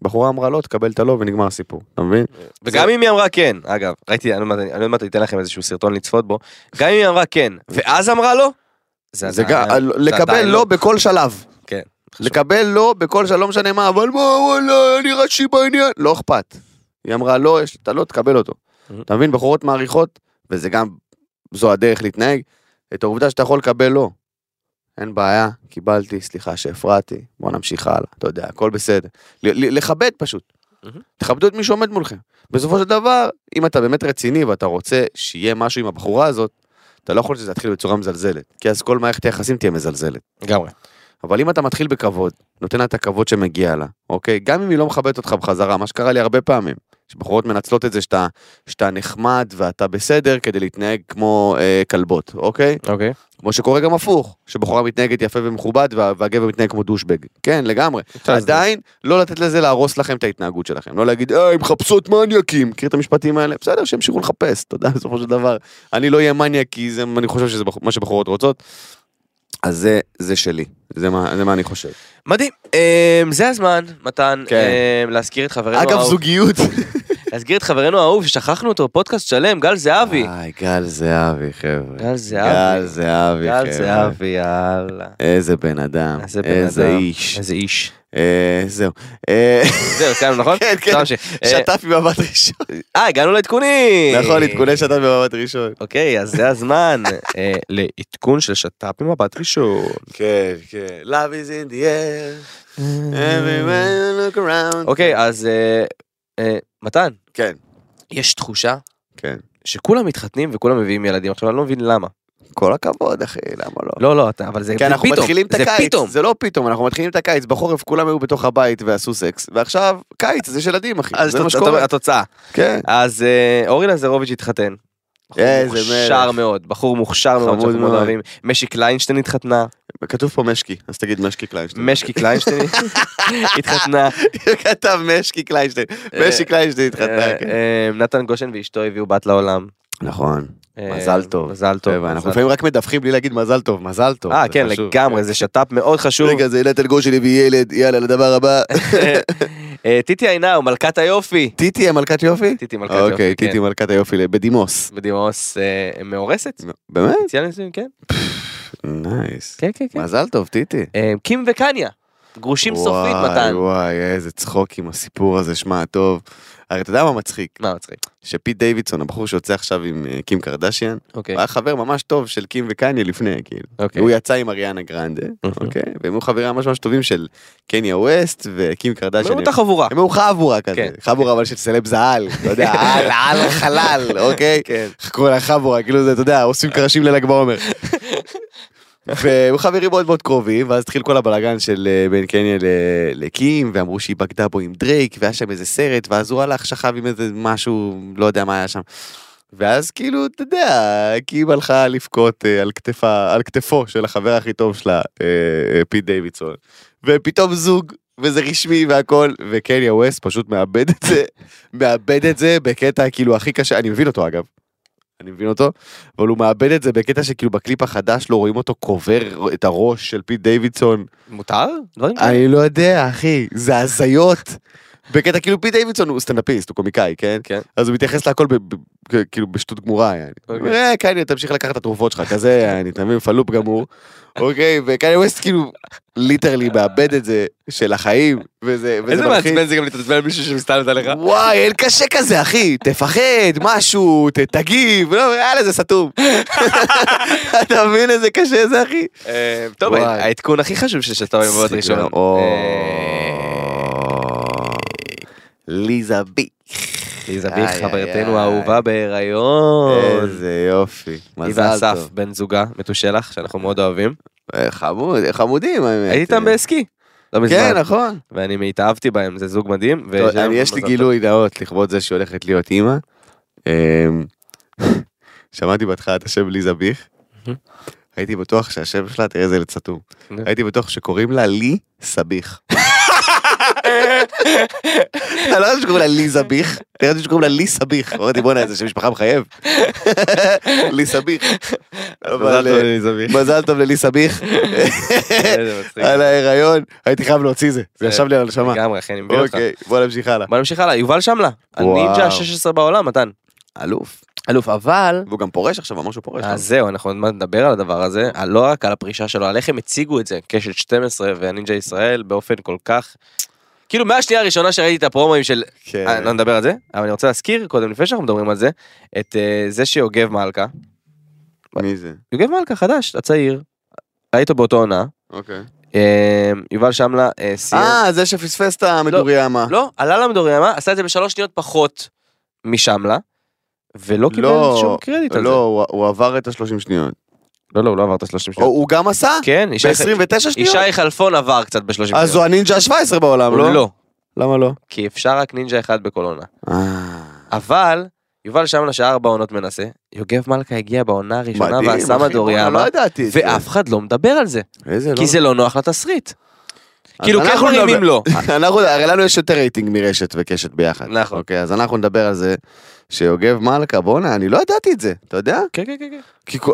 B: בחורה אמרה לא, תקבל את הלא ונגמר הסיפור. אתה מבין?
C: וגם אם היא אמרה כן, אגב, ראיתי, אני עוד מעט- אני עוד מעט אתן לכם איזשהו סרטון לצפות בו, גם אם היא אמרה כן, ואז אמרה לא,
B: זה
C: עדיין-
B: גם, לקבל
C: עדיין
B: לא בכל שלב.
C: כן, חשוב.
B: לקבל לא בכל שלב, לא משנה מה, אבל מה, וואלה, אני רש"י בעניין. לא אכפת. היא אמרה, לא, יש, אתה לא תקבל אותו.
C: Mhm.
B: אתה מבין, בחורות מעריכות, וזה גם, זו הדרך להתנהג, את העובדה שאתה יכול לקבל לא. אין בעיה, קיבלתי, סליחה שהפרעתי, בוא נמשיך הלאה, אתה יודע, הכל בסדר. ל- ל- לכבד פשוט.
C: Mhm.
B: תכבדו את מי שעומד מולכם. בסופו של דבר, אם אתה באמת רציני ואתה רוצה שיהיה משהו עם הבחורה הזאת, אתה לא יכול שזה יתחיל בצורה מזלזלת, כי אז כל מערכת היחסים תהיה מזלזלת.
C: לגמרי.
B: אבל אם אתה מתחיל בכבוד, נותן לה את הכבוד שמגיע לה, אוקיי? גם אם היא לא מכבדת אותך בחזרה, מה שקרה לי הרבה פעמים, שבחורות מנצלות את זה שאתה, שאתה נחמד ואתה בסדר כדי להתנהג כמו אה, כלבות, אוקיי?
C: אוקיי.
B: כמו שקורה גם הפוך, שבחורה מתנהגת יפה ומכובד וה, והגבר מתנהג כמו דושבג. כן, לגמרי. עדיין לא לתת לזה להרוס לכם את ההתנהגות שלכם, לא להגיד, אה, הם מחפשות מניאקים, מכיר את המשפטים האלה? בסדר, שימשיכו לחפש, אתה יודע, בסופו של דבר. אני לא אהיה מניאק, כי זה, אני חושב שזה בח- מה שבחורות רוצות. אז זה, זה שלי, זה מה, זה מה אני חושב.
C: מדהים, אמ, זה הזמן, מתן,
B: כן.
C: אמ, להזכיר את חברנו
B: אגב,
C: האהוב,
B: זוגיות.
C: להזכיר את חברנו האהוב ששכחנו אותו, פודקאסט שלם, גל זהבי.
B: היי, גל זהבי, חבר'ה.
C: גל זהבי.
B: גל זהבי, חבר'ה.
C: גל זהבי, יאללה.
B: איזה בן אדם.
C: איזה בן
B: איזה
C: אדם.
B: איש.
C: איזה איש.
B: אה, זהו. אה,
C: זהו, סיימנו, נכון?
B: כן, כן.
C: לא ממשיך. אה,
B: שטף במבט ראשון.
C: אה, הגענו לעדכונים.
B: נכון, עדכוני שטף במבט ראשון.
C: אוקיי, אז זה הזמן אה, לעדכון של שת"פ עם מבט ראשון.
B: כן, כן. Love is in the air,
C: אה,
B: everywhere you look around.
C: אוקיי, אז אה, אה, מתן,
B: כן,
C: יש תחושה
B: כן.
C: שכולם מתחתנים וכולם מביאים ילדים. עכשיו, אני לא מבין למה.
B: כל הכבוד, אחי, למה לא?
C: לא, לא, אתה- אבל זה
B: כי אנחנו
C: פתאום.
B: מתחילים את
C: זה
B: הקיץ,
C: פתאום.
B: זה לא פתאום, אנחנו מתחילים את הקיץ, בחורף כולם היו בתוך הבית ועשו סקס, ועכשיו קיץ, אז יש ילדים אחי,
C: אז
B: זה מה
C: תוצ-
B: שקורה.
C: התוצאה.
B: כן.
C: אז אה, אורי לזרוביץ' התחתן. בחור
B: איזה
C: מוכשר
B: מלך.
C: מאוד, בחור מוכשר מאוד,
B: חמוד
C: שאנחנו מאוד
B: מאוד.
C: אוהבים. משי קליינשטיין התחתנה,
B: כתוב פה משקי, אז תגיד משקי קליינשטיין.
C: משקי קליינשטיין התחתנה,
B: כתב משקי קליינשטיין, משקי קליינשטיין התחתנה.
C: אה, אה, נתן גושן ואשתו הביאו בת לעולם.
B: נכון,
C: אה,
B: מזל טוב.
C: מזל טוב.
B: חבר'ה, אנחנו
C: מזל-
B: לפעמים רק מדווחים בלי להגיד מזל טוב, מזל טוב.
C: אה,
B: זה
C: כן,
B: חשוב.
C: לגמרי, זה שת"פ מאוד חשוב.
B: רגע, זה נטל גול שלי וילד, יאללה, לדבר הבא.
C: אה, טיטי עינאו, מלכת היופי.
B: טיטי המלכת יופי?
C: טיטי מלכת היופי,
B: אוקיי,
C: כן.
B: טיטי מלכת היופי בדימוס.
C: בדימוס אה, מאורסת?
B: באמת?
C: יציאה לנישואים, כן?
B: נייס.
C: כן, כן, כן.
B: מזל טוב, טיטי.
C: אה, קים וקניה, גרושים סופית,
B: וואי,
C: מתן.
B: וואי, איזה צחוק עם הסיפור הזה, שמע, טוב. הרי אתה יודע מה מצחיק?
C: מה מצחיק?
B: שפיט דיווידסון, הבחור שיוצא עכשיו עם אה, קים קרדשיאן,
C: אוקיי,
B: הוא היה חבר ממש טוב של קים וקניה לפני, כאילו.
C: אוקיי.
B: הוא יצא עם אריאנה גרנדה, אוקיי? והם היו חברים ממש ממש טובים של קניה ווסט וקים קרדשיאן.
C: מאותה חבורה.
B: הם היו לא חבורה כזה,
C: כן.
B: חבורה אבל של סלבס העל, אתה יודע, על, על החלל, אוקיי?
C: כן.
B: כל החבורה, כאילו זה, אתה יודע, עושים קרשים לל"ג בעומר. והם חברים מאוד מאוד קרובים, ואז התחיל כל הבלאגן של אה, בין קניה ל- לקים, ואמרו שהיא בגדה בו עם דרייק, והיה שם איזה סרט, ואז הוא הלך, שכב עם איזה משהו, לא יודע מה היה שם. ואז כאילו, אתה יודע, קים הלכה לבכות אה, על, כתפה, על כתפו של החבר הכי טוב שלה, אה, אה, פיט דיווידסון. ופתאום זוג, וזה רשמי והכל, וקניה ווסט פשוט מאבד את זה, מאבד את זה בקטע כאילו הכי קשה, אני מבין אותו אגב. אני מבין אותו, אבל הוא מאבד את זה בקטע שכאילו בקליפ החדש לא רואים אותו קובר את הראש של פיט דיווידסון.
C: מותר? דברים כאלה?
B: אני לא יודע, אחי, זה הזיות. בקטע כאילו פיט דיווידסון הוא סטנדאפיסט, הוא קומיקאי, כן?
C: כן.
B: אז הוא מתייחס להכל ב- ב- כ- כאילו בשטות גמורה, יעני.
C: אוקיי.
B: אה, קניה, תמשיך לקחת את התרופות שלך, כזה, יעני, אתה מבין, פלופ גמור. אוקיי, וקניה ווסט כאילו, ליטרלי מאבד את זה של החיים, וזה וזה
C: איזה
B: מלחיץ.
C: מעצבן זה גם להתעצבן על מישהו שמסתם את עליך.
B: וואי, אין קשה כזה, אחי, תפחד, משהו, ת- תגיב, לא, יאללה, זה סתום. אתה מבין איזה קשה זה, אחי?
C: אה, טוב,
B: וואי.
C: העדכון הכי חשוב של שת"פ עם מבט ראשון.
B: או.
C: אה,
B: ליזה בי.
C: זביב,
B: איי,
C: חברתנו
B: איי,
C: האהובה
B: איי.
C: בהיריון.
B: איזה יופי.
C: היא
B: מזל
C: ואסף,
B: טוב.
C: בן זוגה, מתושלח, שאנחנו מאוד אוהבים.
B: אה, חמוד, אה, חמודים האמת.
C: הייתי איתם בסקי. לא
B: כן,
C: מזמן.
B: נכון.
C: ואני התאהבתי בהם, זה זוג מדהים.
B: טוב,
C: ויש להם
B: אני- יש לי
C: מזל
B: גילוי נאות לכבוד זה שהולכת להיות אימא. אמ, שמעתי בהתחלה את השם לי זביך.
C: Mhm.
B: הייתי בטוח שהשם שלה, תראה איזה לצטום.
C: נו.
B: הייתי בטוח שקוראים לה לי סביך. אתה לא חושב שקוראים לה לי זביך? תראה שקוראים לה לי סביך. אמרתי בואנה איזה שם משפחה מחייב. לי סביך.
C: טוב.
B: אבל,
C: מזל טוב
B: אה,
C: לזביב.
B: מזל טוב ללי סביך.
C: איזה מצחיק.
B: על ההיריון. הייתי חייב להוציא זה. זה
C: זה-
B: ישב לי על הנשמה.
C: לגמרי, אחי, אני מבין אותך.
B: אוקיי, בוא נמשיך הלאה.
C: בוא נמשיך הלאה, יובל שמלה,
B: וואו.
C: הנינג'ה ה-16 בעולם, מתן.
B: אלוף.
C: אלוף, אבל...
B: והוא גם פורש עכשיו, אמר שהוא פורש.
C: אז זהו, אנחנו עוד מעט נדבר על הדבר הזה, על- לא רק על הפרישה שלו, על איך הם הציגו את זה, קשת 12 והנינג'ה ישראל באופן כל כך... כאילו מהשנייה הראשונה שראיתי את הפרומואים של...
B: כן.
C: אה, לא נדבר על זה, אבל אני רוצה להזכיר, קודם לפני שאנחנו מדברים על זה, את אה, זה שיוגב מלכה,
B: מי זה?
C: יוגב מלכה חדש, הצעיר, ראית באותו עונה,
B: אוקיי.
C: אה, יובל שמלה אה, סיים...
B: אה, זה שפספס את המדוריאמה.
C: לא, עלה למדוריאמה, עשה את זה בשלוש שניות פחות משמלה, ולא קיבל
B: לא,
C: שום קרדיט על זה.
B: לא, הוא- הוא עבר את ה-30 שניות.
C: לא, לא, הוא לא עבר את ה-30
B: או,
C: שניות.
B: הוא גם עשה?
C: כן, ישי-
B: ב-29 שניות?
C: ישי חלפון עבר קצת ב-30 שניות.
B: אז הוא הנינג'ה ה-17 בעולם, לא?
C: לא,
B: למה לא?
C: כי אפשר רק נינג'ה אחד בכל עונה.
B: אה,
C: אבל, יובל שמלה שארבע עונות מנסה, יוגב מלכה הגיע בעונה הראשונה
B: מדהים,
C: ועשה
B: אחי, בואנה,
C: מדוריאמה,
B: לא ידעתי את זה.
C: ואף אחד לא מדבר על זה,
B: איזה לא.
C: כי זה לא נוח לתסריט. כאילו,
B: אז
C: כן
B: אנחנו
C: מרימים
B: נדבר-
C: לו.
B: אנחנו, הרי לנו יש יותר רייטינג מרשת וקשת ביחד.
C: נכון.
B: אוקיי, אז אנחנו נדבר על זה שיוגב מלכה, בואנה, אני לא ידעתי את זה, אתה יודע?
C: כן, כן, כן. כן.
B: כי, כל-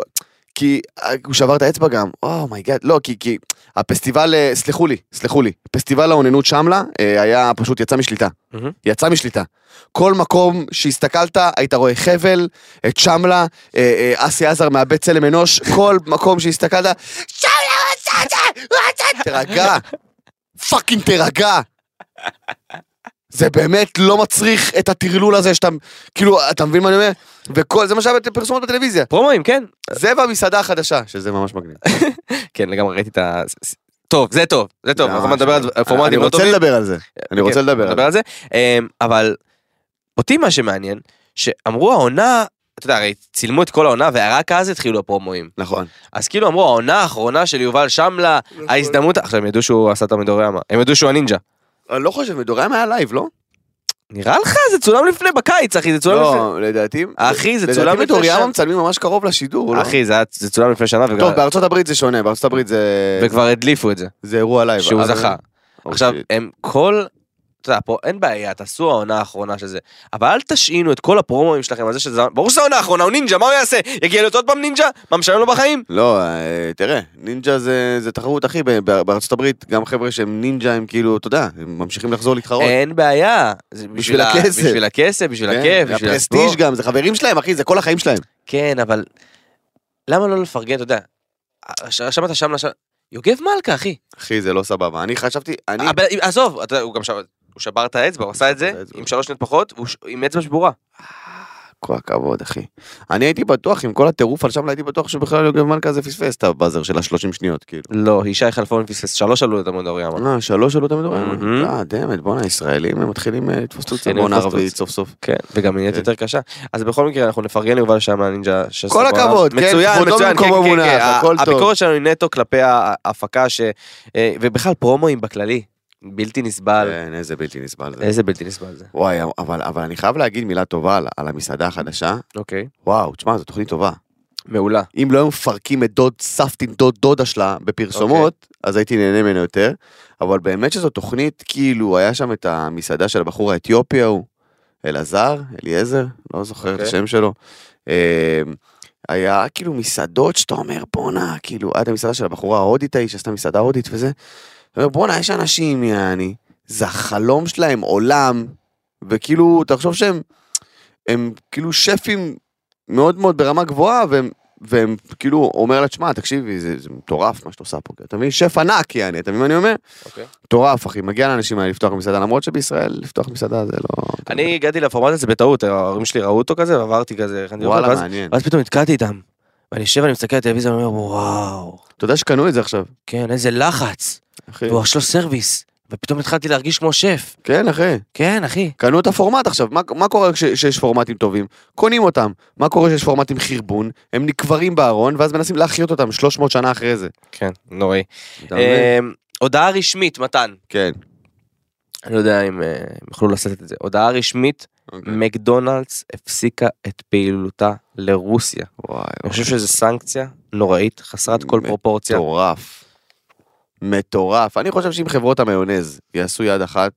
B: כי אה, הוא שבר את האצבע גם, אומייגאד, לא, כי, כי הפסטיבל, אה, סלחו לי, סלחו לי, פסטיבל האוננות שמלה אה, היה פשוט יצא משליטה.
C: מהמם.
B: יצא משליטה. כל מקום שהסתכלת, היית רואה חבל, את שמלה, אה, אה, אסי עזר מאבד צלם אנוש, כל מקום שהסתכלת, שמלה רוצה את זה, רוצה את זה, תירגע, פאקינג תירגע. זה באמת לא מצריך את הטרלול הזה שאתה, כאילו, אתה מבין מה אני אומר? וכל, זה מה שהיה בפרסומות בטלוויזיה.
C: פרומואים, כן.
B: זה במסעדה החדשה. שזה ממש מגניב.
C: כן, לגמרי ראיתי את ה... טוב, זה טוב, זה טוב, אנחנו
B: ממש
C: נדבר על
B: מגניב.
C: פורמטים לא טובים.
B: לא, אני רוצה לדבר על זה. אני רוצה
C: כן,
B: לדבר אה, על
C: נדבר
B: זה.
C: על זה. אמ, אבל אותי מה שמעניין, שאמרו העונה, אתה יודע, הרי צילמו את כל העונה ורק אז התחילו הפרומואים.
B: נכון.
C: אז כאילו אמרו העונה האחרונה של יובל שמלה, ההזדמנות, עכשיו הם ידעו שהוא עשה את המדוריאמה, הם ידעו שהוא הנינג'ה.
B: אני לא חושב, מדוריים היה לייב, לא?
C: נראה לך? זה צולם לפני בקיץ, אחי, זה צולם לפני...
B: לא, לדעתי... אה,
C: אחי, זה צולם
B: לדעתי
C: לפני
B: מדוריים
C: שנה.
B: מצלמים ממש קרוב לשידור, לא?
C: אחי, זה היה- זה צולם לפני שנה
B: טוב,
C: וכבר-
B: בארצות הברית זה שונה, בארצות הברית זה...
C: וכבר הדליפו את זה,
B: זה אירוע לייב.
C: שהוא
B: אבל-
C: זכה.
B: Oh,
C: עכשיו,
B: shit.
C: הם כל... אתה יודע, פה אין בעיה, תעשו העונה האחרונה של זה. אבל אל תשעינו את כל הפרומואים שלכם על זה שזה... ברור שזה העונה האחרונה, הוא נינג'ה, מה הוא יעשה? יגיע להיות עוד פעם נינג'ה? מה משלם לו בחיים?
B: לא, אה, תראה, נינג'ה זה זה תחרות, אחי, ב- ב- בארצות הברית, גם חבר'ה שהם נינג'ה הם כאילו, אתה יודע, הם ממשיכים לחזור להתחרות.
C: אין בעיה. זה
B: בשביל
C: ה-
B: הכסף.
C: נכון. בשביל הכסף, בשביל
B: כן,
C: הכיף, בשביל
B: הפרסטיג' גם, זה חברים שלהם, אחי, זה כל החיים שלהם.
C: כן, אבל... למה לא לפרגן, אתה יודע? ש- שמעת שם לשם... יוגב מלכה, אחי.
B: אחי, זה לא סבבה. אני חשבתי, אני...
C: אבל עזוב, אתה יודע, הוא גם שבר... הוא שבר את האצבע, הוא עשה את
B: את
C: זה
B: האצבע.
C: עם שלוש שניות פחות, והוא ש- עם אצבע שבורה.
B: כל הכבוד, אחי. אני הייתי בטוח, עם כל הטירוף על שם, הייתי בטוח שבכלל יוגב מלכה זה פספס את הבאזר של השלושים שניות, כאילו.
C: לא, ישי חלפון פספס, שלוש עלו את המונדוריאמה.
B: אה, שלוש עלו תמיד אומרים,
C: מהמם.
B: אה, דמת, בואנה, ישראלים הם מתחילים אה, לתפוס תוצאה
C: מתחילים
B: בעונה
C: לתפוס
B: ערבית
C: תאוצה.
B: סוף סוף.
C: כן, וגם היא נהיית
B: כן.
C: יותר קשה. אז בכל מקרה, אנחנו נפרגן ליובל שם מהנינג'ה של
B: כל
C: סבבה.
B: הכבוד, כן,
C: מצוין,
B: כבודו
C: מצוין, כן,
B: במקומו
C: כן,
B: מונח,
C: כן.
B: הכל
C: ה-
B: טוב.
C: הביקורת שלנו היא נטו כלפי ההפקה, ש... אה, ובכלל פרומואים בכללי, בלתי נסבל.
B: כן, איזה בלתי נסבל זה.
C: איזה בלתי נסבל זה.
B: וואי, אבל אבל אני חייב להגיד מילה טובה על- על המסעדה החדשה.
C: אוקיי.
B: וואו, תשמע, זו תוכנית טובה.
C: מעולה.
B: אם לא היו מפרקים את דוד סבתין, דוד דודה שלה בפרסומות, אז הייתי נהנה ממנו יותר. אבל באמת שזו תוכנית, כאילו, היה שם את המסעדה של הבחור האתיופי ההוא, אלעזר, אליעזר, לא זוכר את
C: אוקיי.
B: השם שלו. אמ, היה כאילו מסעדות שאתה אומר, בואנה, כאילו, הייתה מסעדה של הבחורה ההודית ההיא, שעשתה מסעדה הודית וזה. אתה אומר, בואנה, יש אנשים, יעני, זה החלום שלהם עולם, וכאילו, תחשוב שהם, הם כאילו שפים מאוד מאוד ברמה גבוהה, והם, והם כאילו, אומר לה, תשמע, תקשיבי, זה, זה מטורף מה שאת עושה פה, אתה מבין? שף ענק, יעני, אתה מבין מה אני אומר?
C: אוקיי.
B: מטורף, אחי, מגיע לאנשים האלה לפתוח מסעדה, למרות שבישראל לפתוח מסעדה זה לא...
C: אני הגעתי לפורמט הזה בטעות, ההורים שלי ראו אותו כזה, ועברתי כזה, הכנתי אותו,
B: וואלה,
C: ואז-
B: מעניין.
C: ואז פתאום נתקעתי איתם. ואני יושב, אני מסתכל על הטלוויזיה, ואני אומר, וואו,
B: אתה יודע שקנו את זה עכשיו,
C: כן, איזה לחץ.
B: אחי.
C: והוא עכשיו סרוויס. ופתאום התחלתי להרגיש כמו שף.
B: כן, אחי.
C: כן, אחי.
B: קנו את הפורמט עכשיו, מה, מה קורה כש- כשיש פורמטים טובים? קונים אותם. מה קורה כשיש פורמטים חרבון? הם נקברים בארון, ואז מנסים להחיות אותם 300 שנה אחרי זה.
C: כן, נוראי.
B: אתה מבין?
C: אמ, הודעה רשמית, מתן.
B: כן.
C: אני לא יודע אם אה, הם יוכלו לשאת את זה. הודעה רשמית,
B: אוקיי.
C: מקדונלדס הפסיקה את פעילותה לרוסיה.
B: וואי,
C: אני חושב שזו סנקציה נוראית, חסרת כל
B: מטורף.
C: פרופורציה.
B: מטורף. מטורף. אני חושב שאם חברות המיונז יעשו יד אחת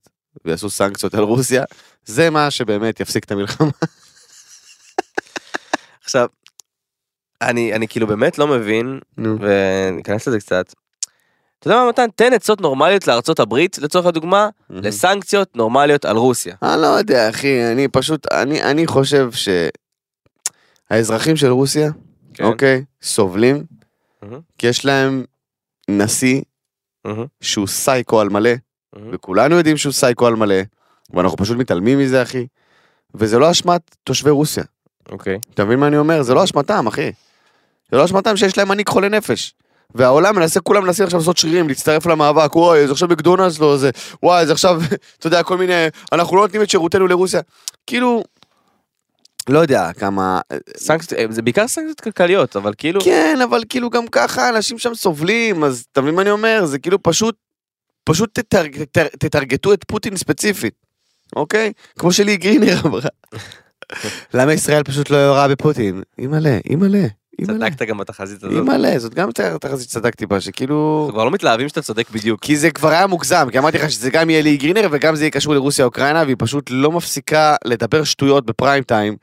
B: ויעשו סנקציות על רוסיה, זה מה שבאמת יפסיק את המלחמה.
C: עכשיו, אני אני כאילו באמת לא מבין,
B: נו.
C: וניכנס לזה קצת. אתה יודע מה מתן? תן עצות נורמליות לארצות הברית, לצורך הדוגמה, לסנקציות נורמליות על רוסיה.
B: אני לא יודע, אחי, אני פשוט, אני, אני חושב שהאזרחים של רוסיה,
C: כן.
B: אוקיי, סובלים,
C: מהמם.
B: כי יש להם נשיא
C: מהמם.
B: שהוא סייקו על מלא,
C: מהמם.
B: וכולנו יודעים שהוא סייקו על מלא, ואנחנו פשוט מתעלמים מזה, אחי. וזה לא אשמת תושבי רוסיה.
C: אוקיי.
B: אתה מבין מה אני אומר? זה לא אשמתם, אחי. זה לא אשמתם שיש להם מנהיג חולה נפש. והעולם מנסה, כולם מנסים עכשיו לעשות שרירים, להצטרף למאבק, וואי, זה עכשיו מקדונלדס לא זה, וואי, זה עכשיו, אתה יודע, כל מיני, אנחנו לא נותנים את שירותנו לרוסיה. כאילו, לא יודע כמה...
C: סנקציות, אה, זה בעיקר סנקציות כלכליות, אבל כאילו...
B: כן, אבל כאילו גם ככה אנשים שם סובלים, אז אתה מבין מה אני אומר? זה כאילו פשוט, פשוט תטרג- תטר- תטרגטו את פוטין ספציפית, אוקיי? כמו שלי גרינר אמרה. למה ישראל פשוט לא יורה בפוטין? אימא'לה, אימא'לה, אימא'לה.
C: צדקת גם בתחזית הזאת.
B: אימא'לה, זאת גם תחזית שצדקתי בה, שכאילו...
C: אנחנו כבר לא מתלהבים שאתה צודק בדיוק.
B: כי זה כבר היה מוגזם, כי אמרתי לך שזה גם יהיה לי גרינר וגם זה יהיה קשור לרוסיה-אוקראינה, והיא פשוט לא מפסיקה לדבר שטויות בפריים טיים.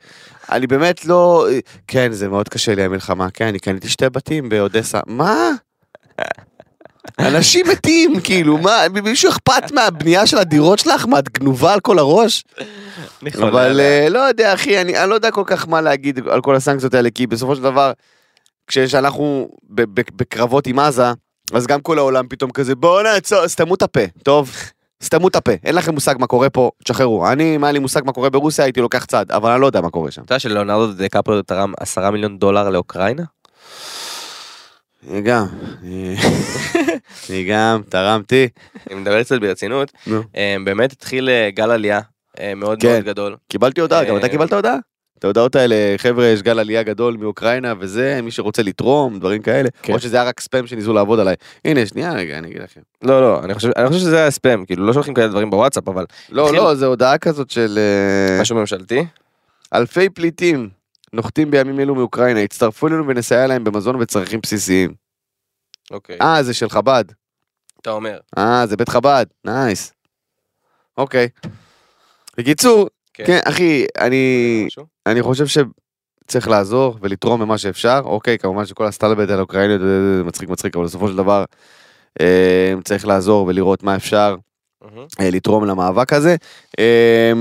B: אני באמת לא... כן, זה מאוד קשה לי המלחמה. כן, אני קניתי שתי בתים באודסה. מה? אנשים מתים, כאילו, מה, מישהו אכפת מהבנייה של הדירות שלך? מה, את גנובה על כל הראש?
C: אני חולה
B: אבל
C: עליה.
B: אה, לא יודע, אחי, אני אני לא יודע כל כך מה להגיד על כל הסנקציות האלה, כי בסופו של דבר, כשאנחנו ב- ב- בקרבות עם עזה, אז גם כל העולם פתאום כזה, בואנה, צא, סתמו את הפה, טוב? סתמו את הפה, אין לכם מושג מה קורה פה, תשחררו. אני, אם היה לי מושג מה קורה ברוסיה, הייתי לוקח צד, אבל אני לא יודע מה קורה שם.
C: אתה יודע שלאונרדו דקפריו תרם עשרה מיליון דולר לאוקראינה?
B: אני גם, אני- אני גם, תרמתי.
C: אני מדבר קצת ברצינות.
B: נו.
C: אה, באמת התחיל אה, גל עלייה אה, מאוד
B: כן.
C: מאוד גדול.
B: קיבלתי הודעה, גם אתה
C: אה,
B: קיבלת הודעה? את ההודעות האלה, חבר'ה, יש גל עלייה גדול מאוקראינה וזה, מי שרוצה לתרום, דברים כאלה.
C: כן.
B: או שזה היה רק ספאם שניסו לעבוד עליי. הנה, שנייה רגע, אני אגיד לכם.
C: לא, לא, אני חושב אני חושב שזה היה ספאם, כאילו לא שולחים כאלה דברים בוואטסאפ, אבל
B: לא,
C: התחיל-
B: לא, זו הודעה כזאת של אה,
C: משהו ממשלתי.
B: אלפי פליטים נוחתים בימים אלו מאוקראינה, הצטרפו אלינו ונסייע להם במזון וצרכים בסיסיים.
C: אוקיי.
B: אה, זה של חב"ד.
C: אתה אומר.
B: אה, זה בית חב"ד, נייס. אוקיי. בקיצור,
C: כן.
B: כן, אחי, אני...
C: משהו?
B: אני חושב שצריך לעזור ולתרום במה שאפשר. אוקיי, כמובן שכל הסטלבט על האוקראיניות זה- זה מצחיק מצחיק, אבל בסופו של דבר אה, צריך לעזור ולראות מה אפשר
C: מהמם.
B: אה, לתרום למאבק הזה. אה,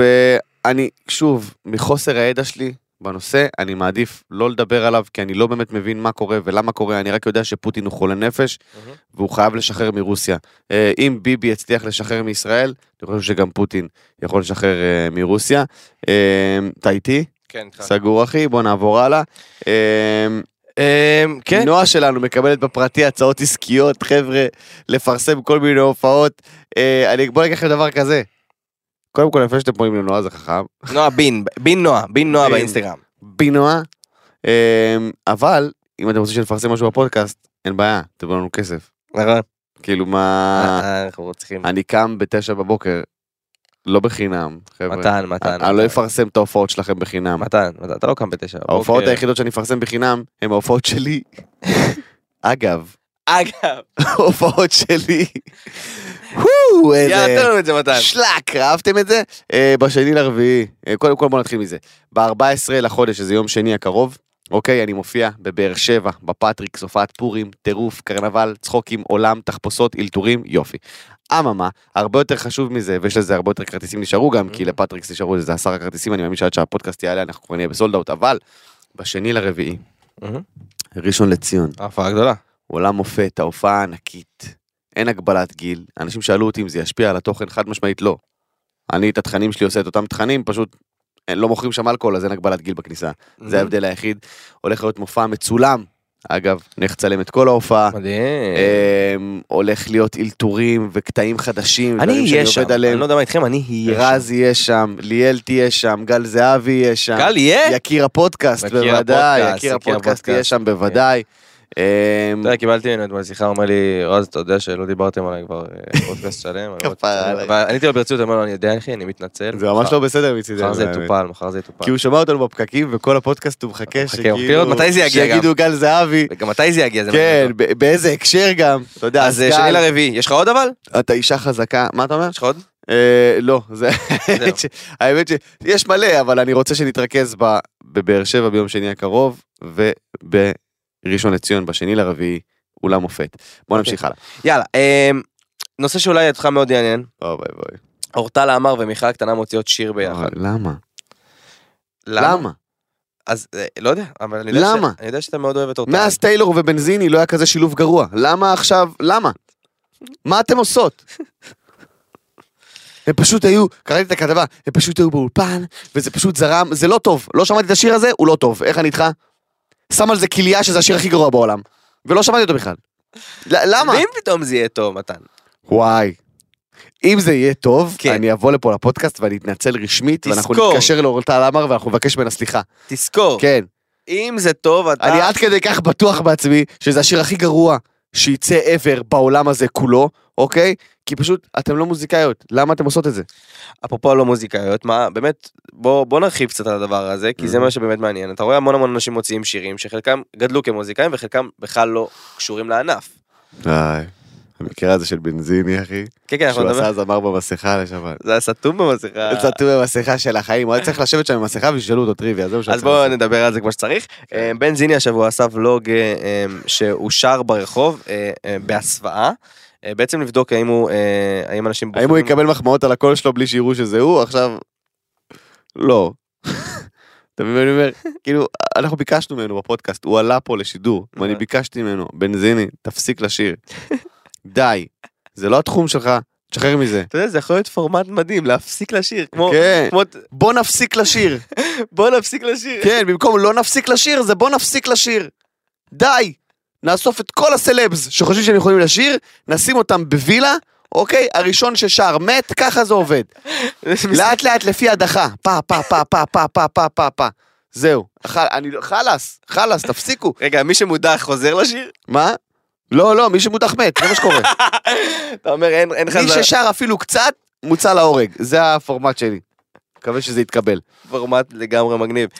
B: ואני, שוב, מחוסר הידע שלי בנושא, אני מעדיף לא לדבר עליו, כי אני לא באמת מבין מה קורה ולמה קורה, אני רק יודע שפוטין הוא חולה נפש,
C: מהמם.
B: והוא חייב לשחרר מרוסיה. אה, אם ביבי יצליח לשחרר מישראל, אני חושב שגם פוטין יכול לשחרר אה, מרוסיה. אה, אתה איתי?
C: כן, איתך.
B: סגור אחי, בוא נעבור הלאה. אמ,
C: אמ, כן.
B: נועה שלנו מקבלת בפרטי הצעות עסקיות, חבר'ה, לפרסם כל מיני הופעות. אה, אני, בוא ניקח לכם דבר כזה. קודם כל, לפני שאתם פונים לנועה זה חכם.
C: נועה בין, בין נועה, בין נועה
B: בין.
C: באינסטגרם.
B: בנועה. אמ, אבל, אם אתם רוצים שנפרסם משהו בפודקאסט, אין בעיה, תבוא לנו כסף.
C: נכון.
B: כאילו מה...
C: אה, אנחנו צריכים.
B: אני קם בתשע בבוקר, לא בחינם, חבר'ה.
C: מתן, מתן.
B: אני לא
C: מתן.
B: אפרסם את ההופעות שלכם בחינם.
C: מתן, מתן, אתה לא קם בתשע.
B: ההופעות
C: בבוקר.
B: היחידות שאני מפרסם בחינם, הן ההופעות שלי. אגב,
C: אגב,
B: ההופעות שלי. וואו,
C: יאללה, תן
B: איזה
C: לנו את זה מתן.
B: שלק, אהבתם את זה? אה, בשני לרביעי, אה, קודם כל בוא נתחיל מזה. ב-14 לחודש, שזה יום שני הקרוב, אוקיי, אני מופיע בבאר שבע, בפטריק, סופת פורים, טירוף, קרנבל, צחוקים, עולם, תחפושות, אלתורים, יופי. אממה, הרבה יותר חשוב מזה, ויש לזה הרבה יותר כרטיסים נשארו גם, כי לפטריקס נשארו איזה עשרה כרטיסים, אני מאמין שעד שהפודקאסט יעלה אנחנו כבר נהיה בסולד אאוט, אבל בשני לרביעי,
C: מהמם.
B: ראשון לציון,
C: ההופעה גדולה.
B: עולם מופת, ההופעה ענקית. אין הגבלת גיל. אנשים שאלו אותי אם זה ישפיע על התוכן, חד משמעית לא. אני את התכנים שלי עושה את אותם תכנים, פשוט אה, אין- לא מוכרים שם אלכוהול, אז אין הגבלת גיל בכניסה. זה ההבדל היחיד. הולך להיות מופע מצולם, אגב, נלך לצלם את כל ההופעה.
C: מדהים.
B: אמ, הולך להיות אלתורים וקטעים חדשים,
C: אני
B: דברים שאני
C: אהיה שם,
B: עובד
C: אני
B: עליהם. אה,
C: לא יודע מה איתכם, אני אהיה שם.
B: רז יהיה שם, ליאל תהיה שם, גל זהבי יהיה שם.
C: קל יהיה?
B: יקיר הפודקאסט,
C: יקיר
B: בוודאי. יקיר
C: הפודקאסט, יקיר
B: הפודקאסט
C: הפודקאסט.
B: יהיה שם, בוודאי. אמ,
C: אתה יודע, קיבלתי ממנו אתמול שיחה, הוא אומר לי, רז, אתה יודע שלא דיברתם עליי כבר אה, פודקאסט שלם. אני אומר,
B: כפרה
C: "בסדר."
B: עליי.
C: אבל עניתי לו ברצינות, אמר לו, אני יודע, אחי, אני מתנצל.
B: זה ממש
C: מחר-
B: לא בסדר מצידנו.
C: מחר זה
B: האמת.
C: יטופל, מחר זה יטופל.
B: כי הוא שמע אותנו בפקקים, וכל הפודקאסט הוא מחכה
C: מחכה, הוא מחכה לראות מתי זה יגיע גם.
B: שיגידו גל זהבי.
C: וגם מתי זה יגיע? זה מעניין
B: כן,
C: אותו.
B: ב- באיזה הקשר גם. אתה יודע,
C: אז אה, שני לרביעי, יש לך עוד אבל?
B: אתה אישה חזקה, מה אתה אומר?
C: יש לך עוד?
B: אה, לא, זה... האמת ש- האמת שיש מלא, אבל אני רוצה שנתרכז ב- בבאר שבע ביום שני הקרוב, ובראשון לציון בשני לרביעי, אולם מופת. בוא
C: אוקיי.
B: נמשיך הלאה.
C: יאללה, אמ, נושא שאולי אותך מאוד יעניין,
B: אוי ואבוי.
C: אורטל עמר ומיכל הקטנה מוציאות שיר ביחד.
B: אוי, למה? למה?
C: אז אה, לא יודע, אבל אני יודע ש-
B: למה?
C: אני יודע שאתה מאוד אוהב את אורטל.
B: מאז טיילור ובנזיני לא היה כזה שילוב גרוע. למה עכשיו? למה? מה אתם עושות? הם פשוט היו, קראתי את הכתבה, הם פשוט היו באולפן, וזה פשוט זרם, זה לא טוב. לא שמעתי את השיר הזה, הוא לא טוב. איך אני איתך? שם על זה כליה שזה השיר הכי גרוע בעולם. ולא שמעתי אותו בכלל. ל- למה?
C: ואם פתאום זה יהיה טוב, מתן?
B: וואי. אם זה יהיה טוב,
C: כן.
B: אני אבוא לפה לפודקאסט ואני אתנצל רשמית, ואנחנו
C: תזכור.
B: נתקשר לאורטל עמר ואנחנו נבקש ממנה סליחה.
C: תזכור,
B: כן.
C: אם זה טוב, אתה...
B: אני עד כדי כך בטוח בעצמי שזה השיר הכי גרוע שייצא ever בעולם הזה כולו, אוקיי? כי פשוט אתם לא מוזיקאיות, למה אתם עושות את זה?
C: אפרופו הלא מוזיקאיות, מה, באמת, בוא, בוא נרחיב קצת על הדבר הזה, כי זה מה שבאמת מעניין. אתה רואה המון המון אנשים מוציאים שירים שחלקם גדלו כמוזיקאים וחלקם בכלל לא קשורים לענף.
B: די. המקרה הזה של בנזיני, אחי,
C: כן, כן, אנחנו נדבר.
B: זמר במסכה לשבת.
C: זה היה סתום במסכה.
B: זה סתום במסכה של החיים, הוא היה צריך לשבת שם עם מסכה וישאלו אותו טריוויה, זה מה שהוא
C: אז בואו נדבר על זה כמו שצריך.
B: כן.
C: אה, בן זיני השבוע עשה ולוג אה, אה, שהוא שר ברחוב אה, אה, בהסוואה. אה, בעצם לבדוק האם הוא, אה, האם אנשים
B: האם הוא יקבל מחמאות על הקול שלו בלי שיראו שזה הוא? עכשיו... לא. אתה מבין מה אני אומר? כאילו, אנחנו ביקשנו ממנו בפודקאסט, הוא עלה פה לשידור,
C: אה.
B: ואני ביקשתי ממנו, בנזיני, תפסיק לשיר. די, זה לא התחום שלך, תשחרר מזה.
C: אתה יודע, זה יכול להיות פורמט מדהים, להפסיק לשיר, כמו...
B: כן.
C: כמו-
B: בוא נפסיק לשיר.
C: בוא נפסיק לשיר.
B: כן, במקום לא נפסיק לשיר, זה בוא נפסיק לשיר. די. נאסוף את כל הסלבס שחושבים שהם יכולים לשיר, נשים אותם בווילה, אוקיי? הראשון ששר מת, ככה זה עובד. לאט לאט לפי הדחה, פה פה פה פה פה פה פה פה פה. זהו, חל- אני לא- חלאס, חלאס, תפסיקו.
C: רגע, מי שמודח חוזר לשיר?
B: מה? לא, לא, מי שמודח מת, זה מה שקורה.
C: אתה אומר, אין אין לך...
B: מי
C: זה
B: ששר אפילו קצת, מוצא להורג. זה הפורמט שלי. מקווה שזה יתקבל.
C: פורמט לגמרי מגניב.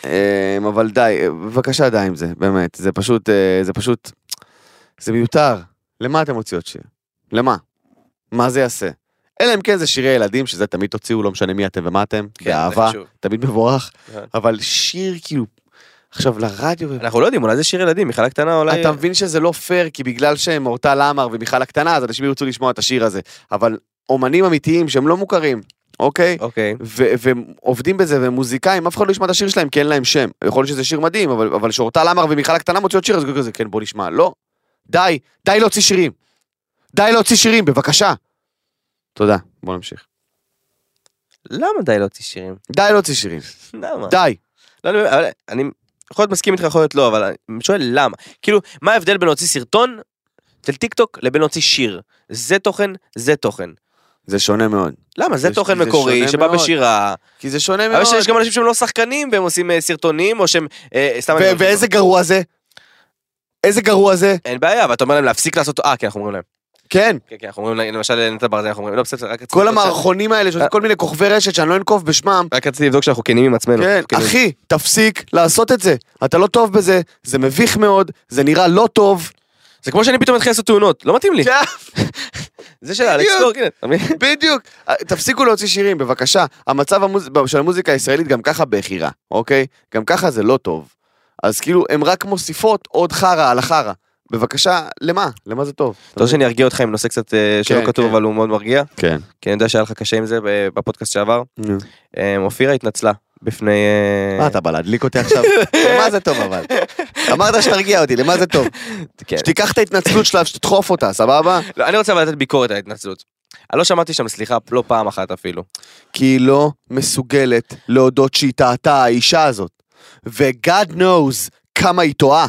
B: אמ, אבל די, אה, בבקשה די עם זה, באמת. זה פשוט, אה, זה פשוט, זה מיותר. למה אתם מוציאות שיר? למה? מה זה יעשה? אלא אם כן זה שירי ילדים, שזה תמיד תוציאו, לא משנה מי אתם ומה אתם,
C: כן, זה
B: באהבה,
C: חשוב.
B: תמיד מבורך,
C: נכון.
B: אבל שיר כאילו, עכשיו לרדיו,
C: אנחנו לא יודעים, אולי זה שיר ילדים, מיכל הקטנה אולי...
B: אתה מבין שזה לא פייר, כי בגלל שהם אורטל עמר ומיכל הקטנה, אז אנשים ירצו לשמוע את השיר הזה. אבל אומנים אמיתיים שהם לא מוכרים, אוקיי?
C: אוקיי.
B: ו- ועובדים בזה, והם מוזיקאים, אף אחד לא ישמע את השיר שלהם, כי אין להם שם. יכול להיות שזה שיר מדהים, אבל, אבל שאורטל עמר ומיכל הקטנה מוציאות שיר, אז כאילו כזה, כן, בוא נשמע. לא. די, די להוציא שירים. די להוציא שירים, בבקשה. תודה, בוא נמשיך.
C: למה די להוציא שירים?
B: די להוציא שירים.
C: למה?
B: די.
C: לא, אני- אבל אני יכול להיות מסכים איתך, יכול להיות לא, אבל אני שואל למה. כאילו, מה ההבדל בין להוציא סרטון של טיק טוק לבין להוציא שיר? זה תוכן, זה תוכן.
B: זה שונה מאוד.
C: למה?
B: זה-
C: זה תוכן
B: זה
C: מקורי
B: שונה
C: שבא
B: מאוד.
C: בשירה.
B: כי זה שונה
C: אבל
B: מאוד.
C: יש גם אנשים שהם לא שחקנים והם עושים אה, סרטונים או שהם... אה, סתם אני
B: ו-
C: אומר,
B: ואיזה גרוע זה? איזה גרוע זה?
C: אין בעיה, אבל אתה אומר להם להפסיק לעשות... אה, כן, אנחנו אומרים להם.
B: כן.
C: כן, כן, אנחנו אומרים להם, למשל לנטע ברזל, אנחנו אומרים, לא בסדר, אה. רק רציתי
B: כל
C: לבדוק שה-
B: המערכונים האלה, שזה כל מיני כוכבי רשת שאני לא אנקוב בשמם.
C: רק רציתי לבדוק שאנחנו כנים עם עצמנו.
B: כן,
C: כנים.
B: אחי, תפסיק לעשות את זה. אתה לא טוב בזה, זה מביך מאוד, זה נראה לא טוב.
C: זה כמו שאני פתאום אתחיל לעשות תאונות, לא מתאים לי. זה של אלכס
B: כן. בדיוק.
C: קורקינט, אתה מבין?
B: בדיוק. אה, תפסיקו להוציא שירים, בבקשה. המצב המוז... של המוזיקה הישראלית גם ככה בכי רע, אוקיי? גם ככה זה לא טוב. אז כאילו, הן רק מוסיפות עוד חרא על החרא. בבקשה, למה? למה זה טוב?
C: אתה רוצה לא שאני ארגיע אותך עם נושא קצת אה, שלא
B: כן,
C: כתוב
B: כן.
C: אבל הוא מאוד מרגיע?
B: כן.
C: כי אני יודע שהיה לך קשה עם זה ב- בפודקאסט שעבר.
B: נו.
C: אה, אופירה התנצלה בפני... אה,
B: מה אתה בא להדליק אותי עכשיו? למה זה טוב אבל? אמרת שתרגיע אותי, למה זה טוב?
C: כן.
B: שתיקח את ההתנצלות שלה ושתדחוף אותה, סבבה?
C: לא, אני רוצה אבל לתת ביקורת על ההתנצלות. אני לא שמעתי שם סליחה לא פעם אחת אפילו.
B: כי היא לא מסוגלת להודות שהיא טעתה האישה הזאת. ו-God knows כמה היא טועה.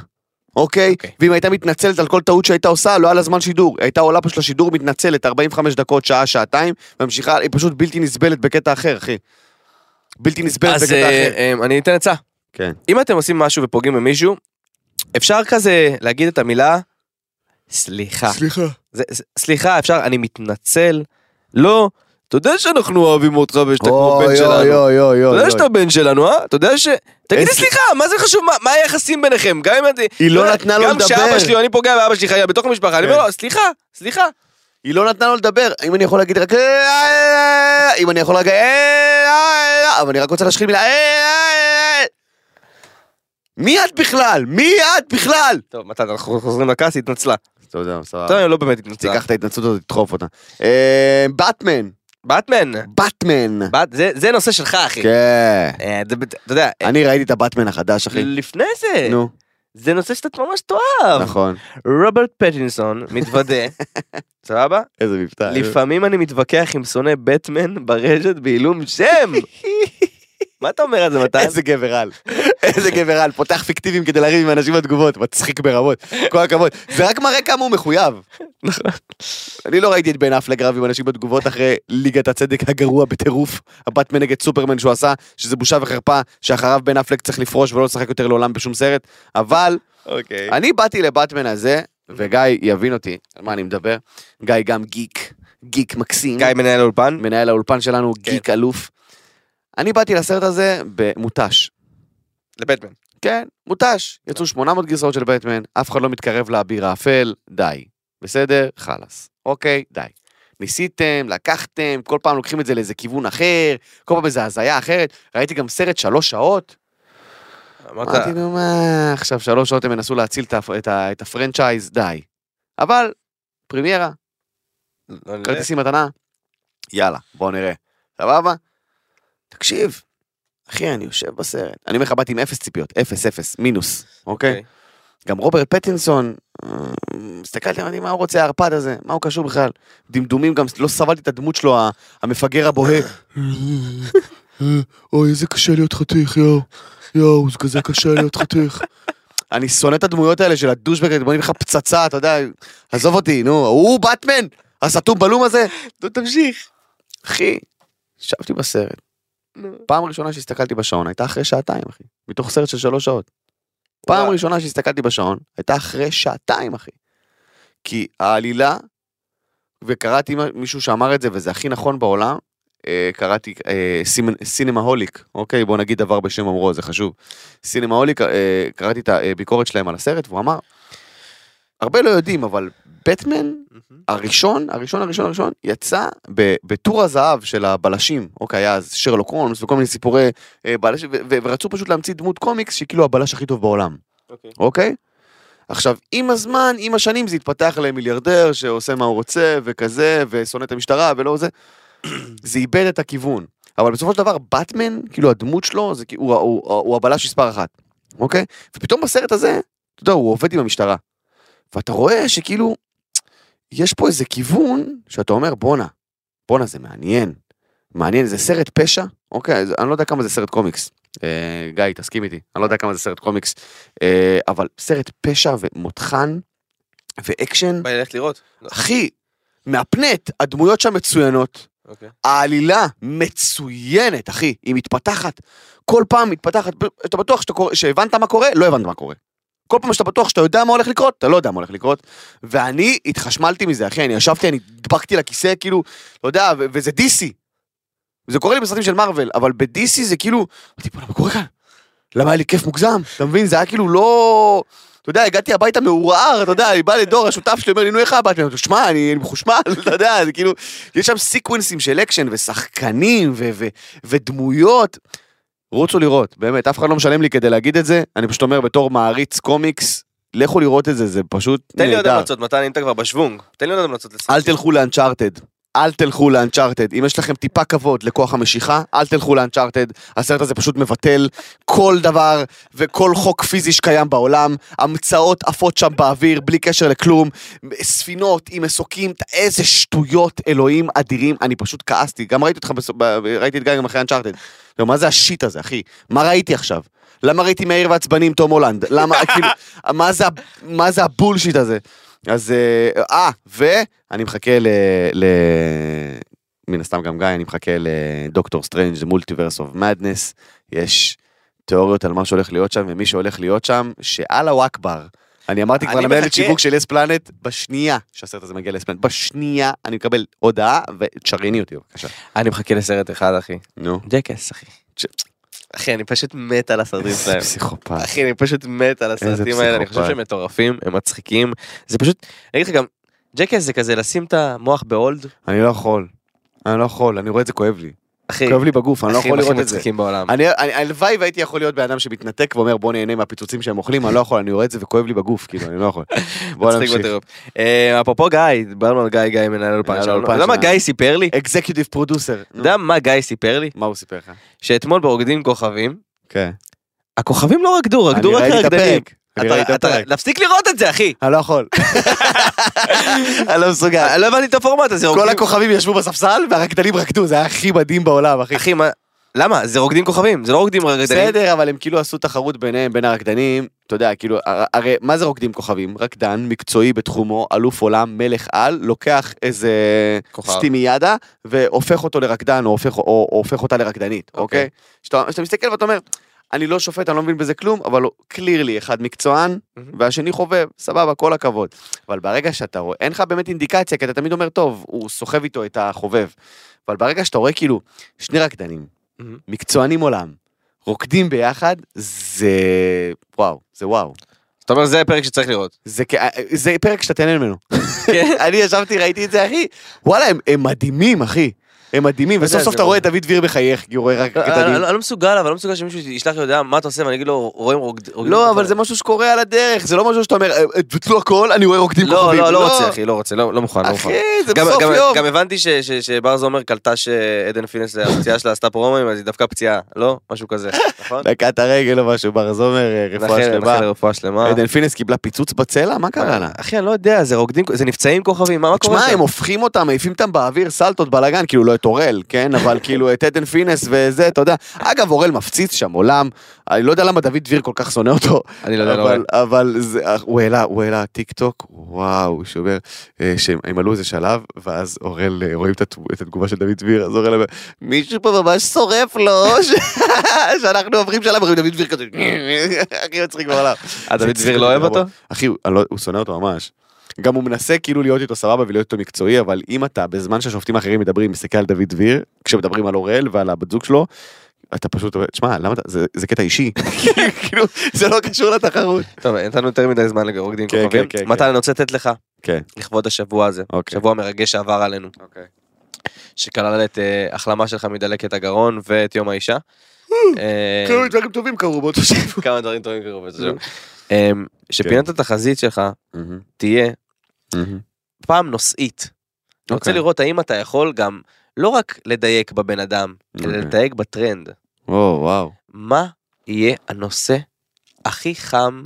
B: אוקיי?
D: אוקיי.
B: ואם הייתה מתנצלת על כל טעות שהייתה עושה, לא היה לה זמן שידור. היא הייתה עולה פשוט לשידור, מתנצלת 45 דקות, שעה, שעתיים, ממשיכה, היא פשוט בלתי נסבלת בקטע אחר, אחי. בלתי נסבלת
D: אז
B: בקטע
D: אה,
B: אחר.
D: אה, אני אתן עצה.
B: כן.
D: אם אתם עושים משהו ופוגעים במישהו, אפשר כזה להגיד את המילה סליחה.
B: סליחה.
D: זה- זה- סליחה, אפשר, אני מתנצל. לא, אתה יודע שאנחנו אוהבים אותך ושאתה כמו בן שלנו. לא,
B: אוי אוי
D: אתה
B: אוי.
D: יודע שאתה בן שלנו, אה? אתה יודע ש... תגידי
B: איזה-
D: סליחה, מה זה חשוב? מה- מה היחסים ביניכם? גם אם אני...
B: היא לא
D: יודע,
B: נתנה לו
D: גם כשאבא
B: לדבר.
D: שלי, או אני פוגע באבא שלי חיה בתוך המשפחה, אני אומר לו, סליחה, סליחה.
B: היא לא נתנה לו לדבר, אם אני יכול להגיד רק... "אה, אה, אה", אם אני יכול רק... "אה, אה, אה", אבל אני רק רוצה להשחיל מילה... "אה, אה, אה". מי את בכלל? מי את בכלל?
D: טוב, מתן, אנחנו חוזרים לכעס, היא התנצלה.
B: תודה,
D: טוב,
B: סבבה.
D: היא לא באמת התנצלה.
B: תיקח את ההתנצלות הזאת, תדחוף אותה. אה, באטמן,
D: באטמן.
B: באטמן.
D: בת- זה- זה נושא שלך, אחי.
B: כן.
D: אה, זה- אתה יודע, אה,
B: אני ראיתי את הבטמן החדש, אחי.
D: לפני זה,
B: נו,
D: זה נושא שאתה ממש תאהב.
B: נכון.
D: רוברט פטינסון מתוודה, סבבה?
B: איזה מבטא.
D: לפעמים אני מתווכח עם שונא בטמן ברשת בעילום שם. מה אתה אומר על זה, מתן?
B: איזה גבר על. איזה גבר על. פותח פיקטיביים כדי לריב עם אנשים בתגובות. מצחיק ברמות. כל הכבוד. זה רק מראה כמה הוא מחויב.
D: נכון.
B: אני לא ראיתי את בן אפלג רב עם אנשים בתגובות אחרי ליגת הצדק הגרוע בטירוף, הבטמן נגד סופרמן שהוא עשה, שזה בושה וחרפה, שאחריו בן אפלג צריך לפרוש ולא לשחק יותר לעולם בשום סרט, אבל
D: אוקיי.
B: אני באתי לבטמן הזה, וגיא יבין אותי על מה אני מדבר, גיא גם גיק, גיק מקסים,
D: גיא מנהל האולפן?
B: מנהל האולפן שלנו, גיק אלוף. אני באתי לסרט הזה במותש.
D: לבטמן.
B: כן, מותש. יצאו 800 גרסאות של בטמן, אף אחד לא מתקרב לאביר האפל, די. בסדר? חלאס. אוקיי, די. ניסיתם, לקחתם, כל פעם לוקחים את זה לאיזה כיוון אחר, כל פעם איזה הזיה אחרת. ראיתי גם סרט שלוש שעות.
D: אמרת,
B: אמרתי, נו מה, עכשיו שלוש שעות הם ינסו להציל את ה- את ה- את הפרנצ'ייז, די. אבל, פרימיירה,
D: לא נלך.
B: כרטיסים מתנה, יאללה, בואו נראה. סבבה? תקשיב, אחי, אני יושב בסרט. אני אומר לך, באתי עם אפס ציפיות, אפס, אפס, מינוס, אוקיי?
C: כן.
D: אוקיי.
B: גם רוברט פטינסון, אה, הסתכלתי, אמרתי, מה הוא רוצה הערפד הזה? מה הוא קשור בכלל? דמדומים, גם לא סבלתי את הדמות שלו, ה- המפגר הבוהה. אה, אוי, איזה קשה להיות חתיך, יואו. יואו, זה כזה קשה להיות חתיך. אני שונא את הדמויות האלה של הדושבג, הם בונים לך פצצה, אתה יודע, עזוב אותי, נו, הוא באטמן, הסתום בלום הזה.
D: נו, תמשיך.
B: אחי, ישבתי בסרט. פעם ראשונה שהסתכלתי בשעון הייתה אחרי שעתיים, אחי. מתוך סרט של שלוש שעות. פעם
D: וואי.
B: ראשונה שהסתכלתי בשעון הייתה אחרי שעתיים, אחי. כי העלילה, וקראתי מה- מישהו שאמר את זה, וזה הכי נכון בעולם, אה, קראתי אה, סימ- סינמהוליק, אוקיי? בוא נגיד דבר בשם אמרו, זה חשוב. סינמהוליק, אה, קראתי את הביקורת שלהם על הסרט, והוא אמר, הרבה לא יודעים, אבל בטמן הראשון, הראשון, הראשון, הראשון, יצא ב- בטור הזהב של הבלשים, אוקיי, היה אז שרלוק הולמס וכל מיני סיפורי אה, בלש, ו- ו- ורצו פשוט להמציא דמות קומיקס שהיא כאילו הבלש הכי טוב בעולם,
D: אוקיי.
B: אוקיי? עכשיו, עם הזמן, עם השנים זה התפתח למיליארדר שעושה מה הוא רוצה וכזה, ושונא את המשטרה ולא זה. זה איבד את הכיוון. אבל בסופו של דבר, באטמן, כאילו הדמות שלו, זה, כאילו- הוא, הוא, הוא, הוא הבלש מספר אחת, אוקיי? ופתאום בסרט הזה, אתה יודע, הוא עובד עם המשטרה. ואתה רואה שכאילו, יש פה איזה כיוון שאתה אומר, בואנה, בואנה, זה מעניין. מעניין, זה סרט פשע? אוקיי, זה, אני לא יודע כמה זה סרט קומיקס. אה, גיא, תסכים איתי, אני לא יודע כמה זה סרט קומיקס. אה, אבל סרט פשע ומותחן ואקשן,
D: ביי, ללכת לראות. לא,
B: אחי, מהפנט, הדמויות שם מצוינות.
D: אוקיי.
B: העלילה מצוינת, אחי, היא מתפתחת. כל פעם מתפתחת, אתה בטוח שאתה קורא, שהבנת מה קורה? לא הבנת מה קורה. כל פעם שאתה בטוח שאתה יודע מה הולך לקרות, אתה לא יודע מה הולך לקרות. ואני התחשמלתי מזה, אחי, אני ישבתי, אני נדבקתי לכיסא, כאילו, לא יודע, ו- וזה DC. זה קורה לי בסרטים של מארוול, אבל ב-DC זה כאילו, אמרתי, בוא'נה, מה קורה כאן? למה היה לי כיף מוגזם? אתה מבין, זה היה כאילו לא... אתה יודע, הגעתי הביתה מעורער, אתה יודע, אני בא לדור, השותף שלי אומר לי, נו, איך הבאת? אני אומר, שמע, אני אני מחושמל, אתה יודע, זה כאילו, יש שם סיקוונסים של אקשן ושחקנים ו- ו- ודמויות. רוצו לראות, באמת, אף אחד לא משלם לי כדי להגיד את זה, אני פשוט אומר בתור מעריץ קומיקס, לכו לראות את זה, זה פשוט
D: תן לי עוד
B: נהדר.
D: המלצות, מתן, אם אתה כבר בשוונג. תן לי עוד המלצות לסרט.
C: כן.
B: אל תלכו לאנצ'ארטד. אל תלכו לאנצ'ארטד. אם יש לכם טיפה כבוד לכוח המשיכה, אל תלכו לאנצ'ארטד. הסרט הזה פשוט מבטל כל דבר וכל חוק פיזי שקיים בעולם. המצאות עפות שם באוויר בלי קשר לכלום. ספינות עם מסוקים, ת- איזה שטויות, אלוהים אדירים. אני פשוט כעסתי. גם ראיתי אותך, בס... ב- ראיתי את גיא גם אחרי אנצ'ארטד. לא, מה זה השיט הזה, אחי? מה ראיתי עכשיו? למה ראיתי מהיר ועצבני עם תום הולנד? למה, כאילו, מה זה, ה- מה זה הבולשיט הזה? אז, אה, אה, ואני מחכה ל... ל... מן הסתם גם גיא, אני מחכה לדוקטור סטרנג', The Multiverse of Madness, יש תיאוריות על מה שהולך להיות שם, ומי שהולך להיות שם, שאללה אכבר. אני אמרתי כבר
C: אני
B: למנהלת
C: מחכה.
B: שיווק של יס פלנט, בשנייה שהסרט הזה מגיע ליס פלנט, בשנייה אני מקבל הודעה, ותשרייני אותי בבקשה.
C: אני מחכה לסרט אחד, אחי.
B: נו.
C: ג'קס, אחי. אחי, אני פשוט מת על הסרטים
B: איזה
C: שלהם.
B: פסיכופת.
C: אחי, אני פשוט מת על הסרטים האלה, אני חושב
B: פסיכופת.
C: שהם מטורפים, הם מצחיקים. זה פשוט, אני אגיד לך גם, ג'קס זה כזה לשים את המוח בהולד.
B: אני לא יכול. אני לא יכול, אני רואה את זה כואב לי.
C: אחי,
B: כואב לי בגוף, אני לא
C: הכי
B: יכול
C: הכי
B: לראות את זה.
C: מצחיקים בעולם.
B: אני, אני, הלוואי והייתי יכול להיות בן אדם שמתנתק ואומר בוא נהנה מהפיצוצים שהם אוכלים, אני לא יכול, אני רואה את זה וכואב לי בגוף, כאילו, אני לא יכול. בוא
C: מצחיק
B: נמשיך.
C: בטירוף. אה, אפרופו גיא, דיברנו על גיא, גיא מנהל אולפן
B: מנהל
C: שלנו. אתה
B: האולפן
C: יודע מה
B: שלנו. אה,
C: גיא סיפר לי?
B: אקזקיוטיב פרודוסר.
C: אתה יודע מה גיא סיפר לי?
B: מה הוא סיפר לך?
C: שאתמול ברוקדים כוכבים,
B: כן.
C: הכוכבים לא רקדו,
B: אני
C: רקדו רק
B: ראיתי את
C: הרקדנים.
B: הפרק. אני ראיתי
C: אתה-
B: את
C: אתה-
B: הפרק.
C: להפסיק לראות את זה, אחי.
B: אני לא יכול. אני לא מסוגל.
C: לא הבנתי את הפורמט הזה.
B: כל
C: רוקדים-
B: הכוכבים ישבו בספסל והרקדנים רקדו, זה היה הכי מדהים בעולם, אחי.
C: אחי, מה... למה? זה רוקדים כוכבים, זה לא רוקדים רקדנים.
B: בסדר, אבל הם כאילו עשו תחרות ביניהם, בין הרקדנים, אתה יודע, כאילו, הר- הרי מה זה רוקדים כוכבים? רקדן, מקצועי בתחומו, אלוף עולם, מלך על, לוקח איזה
C: כוכב.
B: סטימיאדה, והופך אותו לרקדן, או הופך, או, או הופך אותה לרקדנית, אוקיי? כשאתה כשאתה מסתכל ואתה אומר, אני לא שופט, אני לא מבין בזה כלום, אבל קלירלי, אחד מקצוען,
C: מהמם.
B: והשני חובב, סבבה, כל הכבוד. אבל ברגע שאתה רואה, אין לך באמת אינדיקציה, כי אתה תמיד אומר, טוב, הוא סוחב איתו את החובב. אבל ברגע שאתה רואה כאילו שני רקדנים,
C: מהמם.
B: מקצוענים עולם, רוקדים ביחד, זה וואו, זה וואו.
C: אתה אומר, זה הפרק שצריך לראות.
B: זה, כ- אה, זה פרק שאתה תהנה ממנו.
C: כן.
B: אני ישבתי, ראיתי את זה, אחי. וואלה, הם, הם מדהימים, אחי. הם מדהימים,
C: אתה יודע,
B: וסוף סוף
C: זה
B: אתה רואה את
C: מדהים.
B: דוד דביר מחייך, כי הוא רואה רק
C: אני
B: קטנים.
C: אני לא מסוגל, אבל לא מסוגל שמישהו ישלח לי הודעה מה אתה עושה ואני אגיד לו רואים רוקד- רוקדים.
B: לא, אבל
C: כוכבים".
B: זה משהו שקורה על הדרך, זה לא משהו שאתה אומר, "אה, תבטלו הכל, אני רואה רוקדים
C: לא,
B: כוכבים.
C: לא, לא רוצה אחי, לא רוצה, לא לא מוכן, לא מוכן.
B: אחי, זה
C: גם-
B: בסוף
C: גם-
B: יום.
C: גם הבנתי ש- ש- שבר זומר קלטה שעדן פינס, הפציעה שלה עשתה פרומים, אז היא דווקא פציעה, לא? משהו כזה, נכון?
B: דקת הרגל או משהו, בר זומר, אה, רפואה
C: נאחל-
B: שלמה.
C: נאחל לרפואה שלמה.
B: עדן פינס קיבלה פיצוץ בצלע? מה קרה לה?
C: אחי, אני לא יודע, זה רוקדים, זה נפצעים כוכבים, מה מה קורה?
B: תשמע,
C: שם?
B: הם הופכים אותם, מעיפים אותם באוויר, סלטות, בלאגן, כאילו לא את אורל, כן? אבל כאילו את עדן פינס וזה, אתה יודע. אגב, אורל מפציץ שם עולם, אני לא יודע למה דוד דביר כל כך שונא אותו,
C: אני לא יודע, לא רואה.
B: אבל, אבל זה, הוא העלה, הוא העלה טיק טוק, וואו, שאומר, אה, שהם עלו איזה שלב, ואז אורל, אה, רואים את התגו- את התגובה של דוד דביר, אז אורל אומר, מישהו פה ממש שורף לו, ש- שאנחנו עוברים שלב, רואים דוד דביר כזה, הכי מצחיק בעולם.
C: אה, דוד
B: זה
C: דביר לא אוהב
B: צחוק,
C: אותו?
B: אחי, הוא- אני לא- הוא שונא אותו ממש. גם הוא מנסה כאילו להיות איתו סבבה ולהיות איתו מקצועי, אבל אם אתה, בזמן שהשופטים האחרים מדברים, מסתכל על דוד דביר, כשמדברים על אוראל ועל הבת זוג שלו, אתה פשוט אומר, תשמע, למה אתה, זה, זה קטע אישי. כאילו, זה לא קשור לתחרות.
C: טוב, נתנו יותר מדי זמן לרוקדים
B: כן,
C: כוכבים.
B: כן, כן,
C: מתן, אני רוצה לתת לך,
B: כן.
C: לכבוד השבוע הזה,
B: אוקיי.
C: שבוע מרגש שעבר עלינו, שכלל את אה, החלמה שלך מדלקת הגרון ואת יום האישה. אה,
B: כאילו, דברים טובים קרו באותו שבוע.
C: כמה דברים טובים קרו בזה. אה, שפינת
B: כן.
C: התחזית שלך תהיה פעם נושאית. אני רוצה
B: אוקיי.
C: לראות האם אתה יכול גם לא רק לדייק בבן אדם, אלא
B: אוקיי.
C: לדייק בטרנד.
B: וואו, וואו.
C: מה יהיה הנושא הכי חם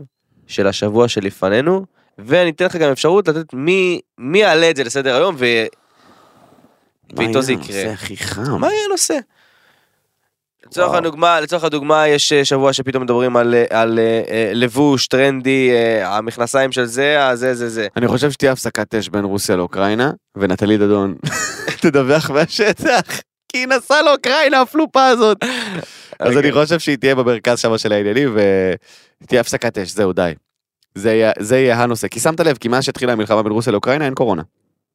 C: של השבוע שלפנינו, ואני אתן לך גם אפשרות לתת מי, מי יעלה את זה לסדר היום, ו... ואיתו זה
B: זה
C: יקרה.
B: הכי חם.
C: מה יהיה הנושא? לצורך
B: וואו.
C: הדוגמה, לצורך הדוגמה, יש אה, שבוע שפתאום מדברים על, אה, על אה, אה, לבוש, טרנדי, אה, המכנסיים של זה, הזה, זה, זה.
B: אני חושב שתהיה הפסקת אש בין רוסיה לאוקראינה, ונטלי דדון תדווח מהשטח, כי היא נסעה לאוקראינה, הפלופה הזאת. אז אני חושב שהיא תהיה במרכז שם של העניינים, ותהיה הפסקת אש, זהו, די. זה יהיה- זה יהיה הנושא, כי שמת לב, כי מאז שהתחילה המלחמה בין רוסיה לאוקראינה אין קורונה.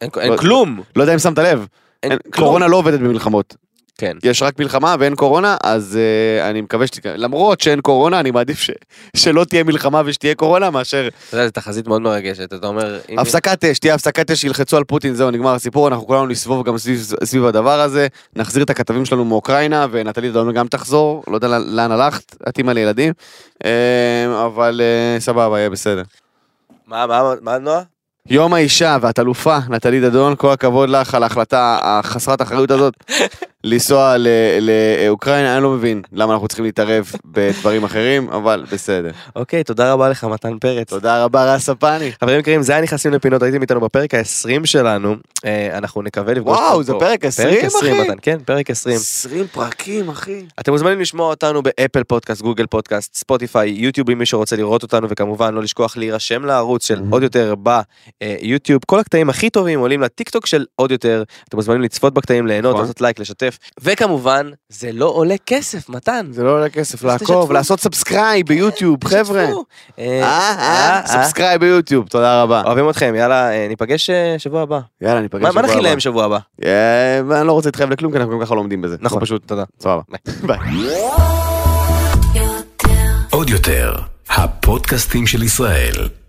C: אין, אין כלום.
B: לא יודע אם שמת לב,
C: אין,
B: אין-
C: כלום.
B: קורונה לא עובדת במלחמות.
C: כן.
B: יש רק מלחמה ואין קורונה, אז אה, אני מקווה שת... למרות שאין קורונה, אני מעדיף ש... שלא תהיה מלחמה ושתהיה קורונה, מאשר
C: אתה יודע, זו תחזית מאוד מרגשת, אתה אומר... אם-
B: הפסקת אש, תהיה הפסקת אש, ילחצו על פוטין, זהו, נגמר הסיפור, אנחנו כולנו נסבוב גם סביב, סביב הדבר הזה, נחזיר את הכתבים שלנו מאוקראינה, ונטלי דדון גם תחזור, לא יודע לאן הלכת, את אימא לילדים, אה, אבל אה, סבבה, יהיה בסדר.
C: מה, מה, מה, נועה?
B: יום האישה ואת אלופה, נטלי דדון, כל הכבוד לך על ההחלטה החסרת אחריות הזאת. לנסוע ל- לאוקראינה, אני לא מבין למה אנחנו צריכים להתערב בדברים אחרים, אבל בסדר.
C: אוקיי, תודה רבה לך, מתן פרץ.
B: תודה רבה, רס הפאני.
C: חברים יקרים, זה היה נכנסים לפינות, הייתם איתנו בפרק ה-20 שלנו. אה, אנחנו נקווה לפגוש
B: וואו,
C: אותך
B: זה
C: פה.
B: פרק 20,
C: פרק 20,
B: אחי?
C: מתן, כן, פרק 20.
B: 20 פרקים, אחי.
C: אתם מוזמנים לשמוע אותנו באפל פודקאסט, גוגל פודקאסט, ספוטיפיי, יוטיוב, אם מישהו רוצה לראות אותנו, וכמובן לא לשכוח להירשם לערוץ של
B: מהמם.
C: עוד יותר ביוטיוב. כל הקטעים הכי טובים עולים לטיק טוק של עוד יותר. אתם מוזמנים לצפות בקטעים, ליהנות,
B: נכון.
C: לעשות לייק, לשתף. וכמובן, זה לא עולה כסף, מתן.
B: זה לא עולה כסף,
C: אז
B: לעקוב,
C: תשתפו.
B: לעשות סאבסקרייב ביוטיוב, חבר'ה.
C: תשתפו. אה,
B: אה, אה,
C: אה, אה.
B: סאבסקרייב ביוטיוב, תודה רבה.
C: אוהבים אתכם, יאללה, אה, ניפגש אה, שבוע הבא.
B: יאללה, ניפגש
C: מה-
B: שבוע
C: מה נכין
B: הבא.
C: להם שבוע הבא?
B: אה, אני לא רוצה להתחייב לכלום, כי אנחנו גם ככה לא עומדים בזה.
C: נכון, פשוט, תודה.
B: סבבה. ביי.
A: עוד יותר, הפודקאסטים של ישראל.